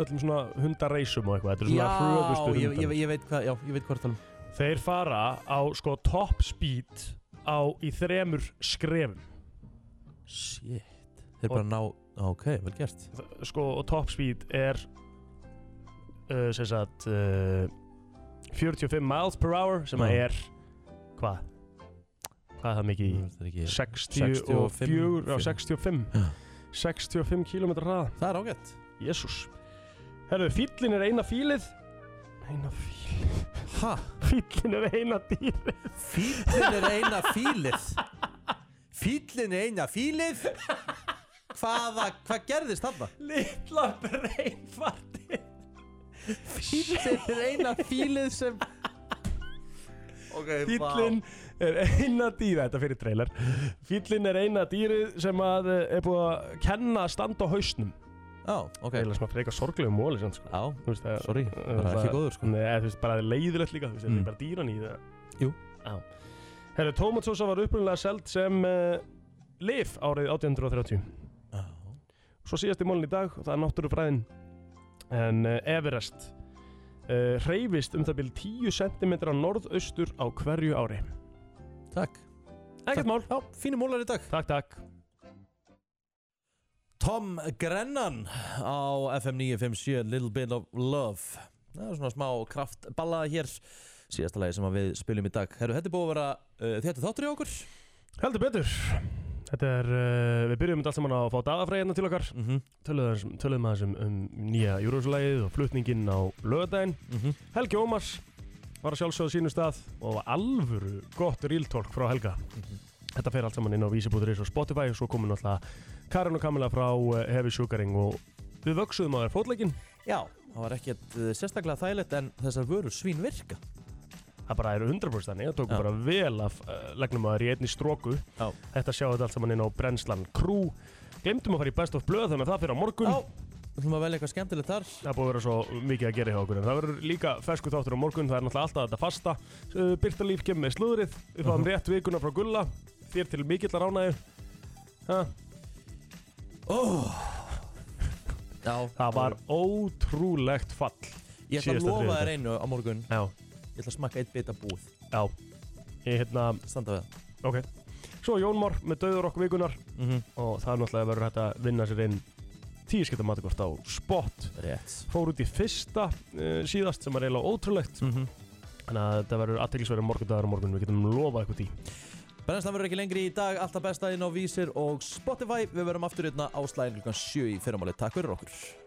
B: öllum svona hundareisum og eitthvað Þetta er
A: Já,
B: svona hröðustu
A: ég,
B: hundar
A: ég, ég veit hvað, já, ég veit hvað það er
B: Þeir fara á sko top speed á í þremur skrefum
A: Shit, þeir bara ná, ok, vel gert
B: Þ- sko og top speed er uh, sem sagt uh, 45 miles per hour sem að
A: Já.
B: er hvað? Hvað er það mikið
A: er
B: í?
A: ekki-
B: 64 já,
A: 65.
B: 65 65 km hraða
A: Það er ágætt
B: Jésús Herðu, fýllin er eina fýlið Eina fýlið (laughs)
A: Hæ?
B: Fýllin er eina dýrið
A: Fýllin er eina fílið Fýllin er eina fílið hvaða, hvað gerðist þarna?
B: Lilla breinfarti
A: Þetta er eina fílið sem okay, vá.
B: Fýllinn er eina dýra, þetta er fyrir trailer Fýllinn er eina dýrið sem að eh, er búið að kenna að standa á hausnum
A: Já, ok
B: Það er svona frekar sorglegum móli sem, sko.
A: Já,
B: þú veist,
A: sorry, bara ekki góður,
B: sko. Nei, þú veist, bara leiðilegt líka, þú veist, mm.
A: Mm.
B: þetta er bara dýran í það
A: Jú
B: Já Herru, tómatsósa var upprunalega seld sem uh, lif árið 1830
A: Já
B: Svo síðast í mólin í dag, og það er náttúrufræðin En uh, Everest uh, reyfist um það byrjum 10 cm á norðaustur á hverju ári
A: Takk
B: Ekkert mál
A: Já, fínum mólar í dag
B: Takk, takk
A: Tom Grennan á FM 957 Little Bit of Love það er svona smá kraftballaða hér síðasta lagi sem að við spilum í dag Herru, þetta er búið að vera uh, þetta þáttur í okkur
B: Heldur betur Þetta er, uh, við byrjum þetta allt saman á að fá dagafræðina til okkar
A: mm -hmm.
B: Töluðum töluðum aðeins um, um nýja júrósulægið og flutninginn á lögadaginn
A: mhm.
B: Helgi Ómars var að sjálfsögða sínum stað og var alvöru gott ríltólk frá Helga Þetta fer allt saman inn á vísi.is og Spotify og svo komin alltaf Karin og Kamila frá eh, Heavy Sugaring og við vöksuðum á þér fótleikinn
A: Já, það var ekkert uh, sérstaklega þægilegt en þessar vörur svín virka
B: Það bara eru 100% þannig, það tóku bara vel af uh, legnum að það í einni stróku
A: Já.
B: Þetta sjáum þetta allt saman inn á Brennslan Crew Glemtum að fara í Best of Blöð þannig að það fyrir á morgun Já,
A: við þurfum að velja eitthvað skemmtilegt þar
B: Það er búið að vera svo mikið að gera hjá okkur En það verður líka fesku þáttur á morgun, það er náttúrulega alltaf þetta fasta uh, Byrtalíf kemur með slúðrið, við fáum rétt vikuna frá Gulla Þér til mikillar ánægju Ha?
A: oh. Já
B: Það var ótrúlegt fall
A: Ég ætla að
B: síðasta
A: lofa þér
B: þriðjudag.
A: einu á morgun
B: Já
A: Ég ætla að smakka eitt bita búð
B: Já Ég hérna
A: Standa við
B: Ok Svo Jón Már með Dauður okkur vikunar
A: Mhm.
B: Og það er náttúrulega verður hægt að vinna sér inn Tíu skipta matakort á spot
A: Rétt
B: Fór út í fyrsta uh, síðast sem er eiginlega ótrúlegt
A: Mhm.
B: Þannig að þetta verður aðteglisverður morgundagur á morgun Við getum lofað eitthvað því
A: Brennslan verður ekki lengri í dag Alltaf besta inn á Vísir og Spotify Við verum aftur hérna á slæðin klukkan 7 í fyrramáli Takk fyrir okkur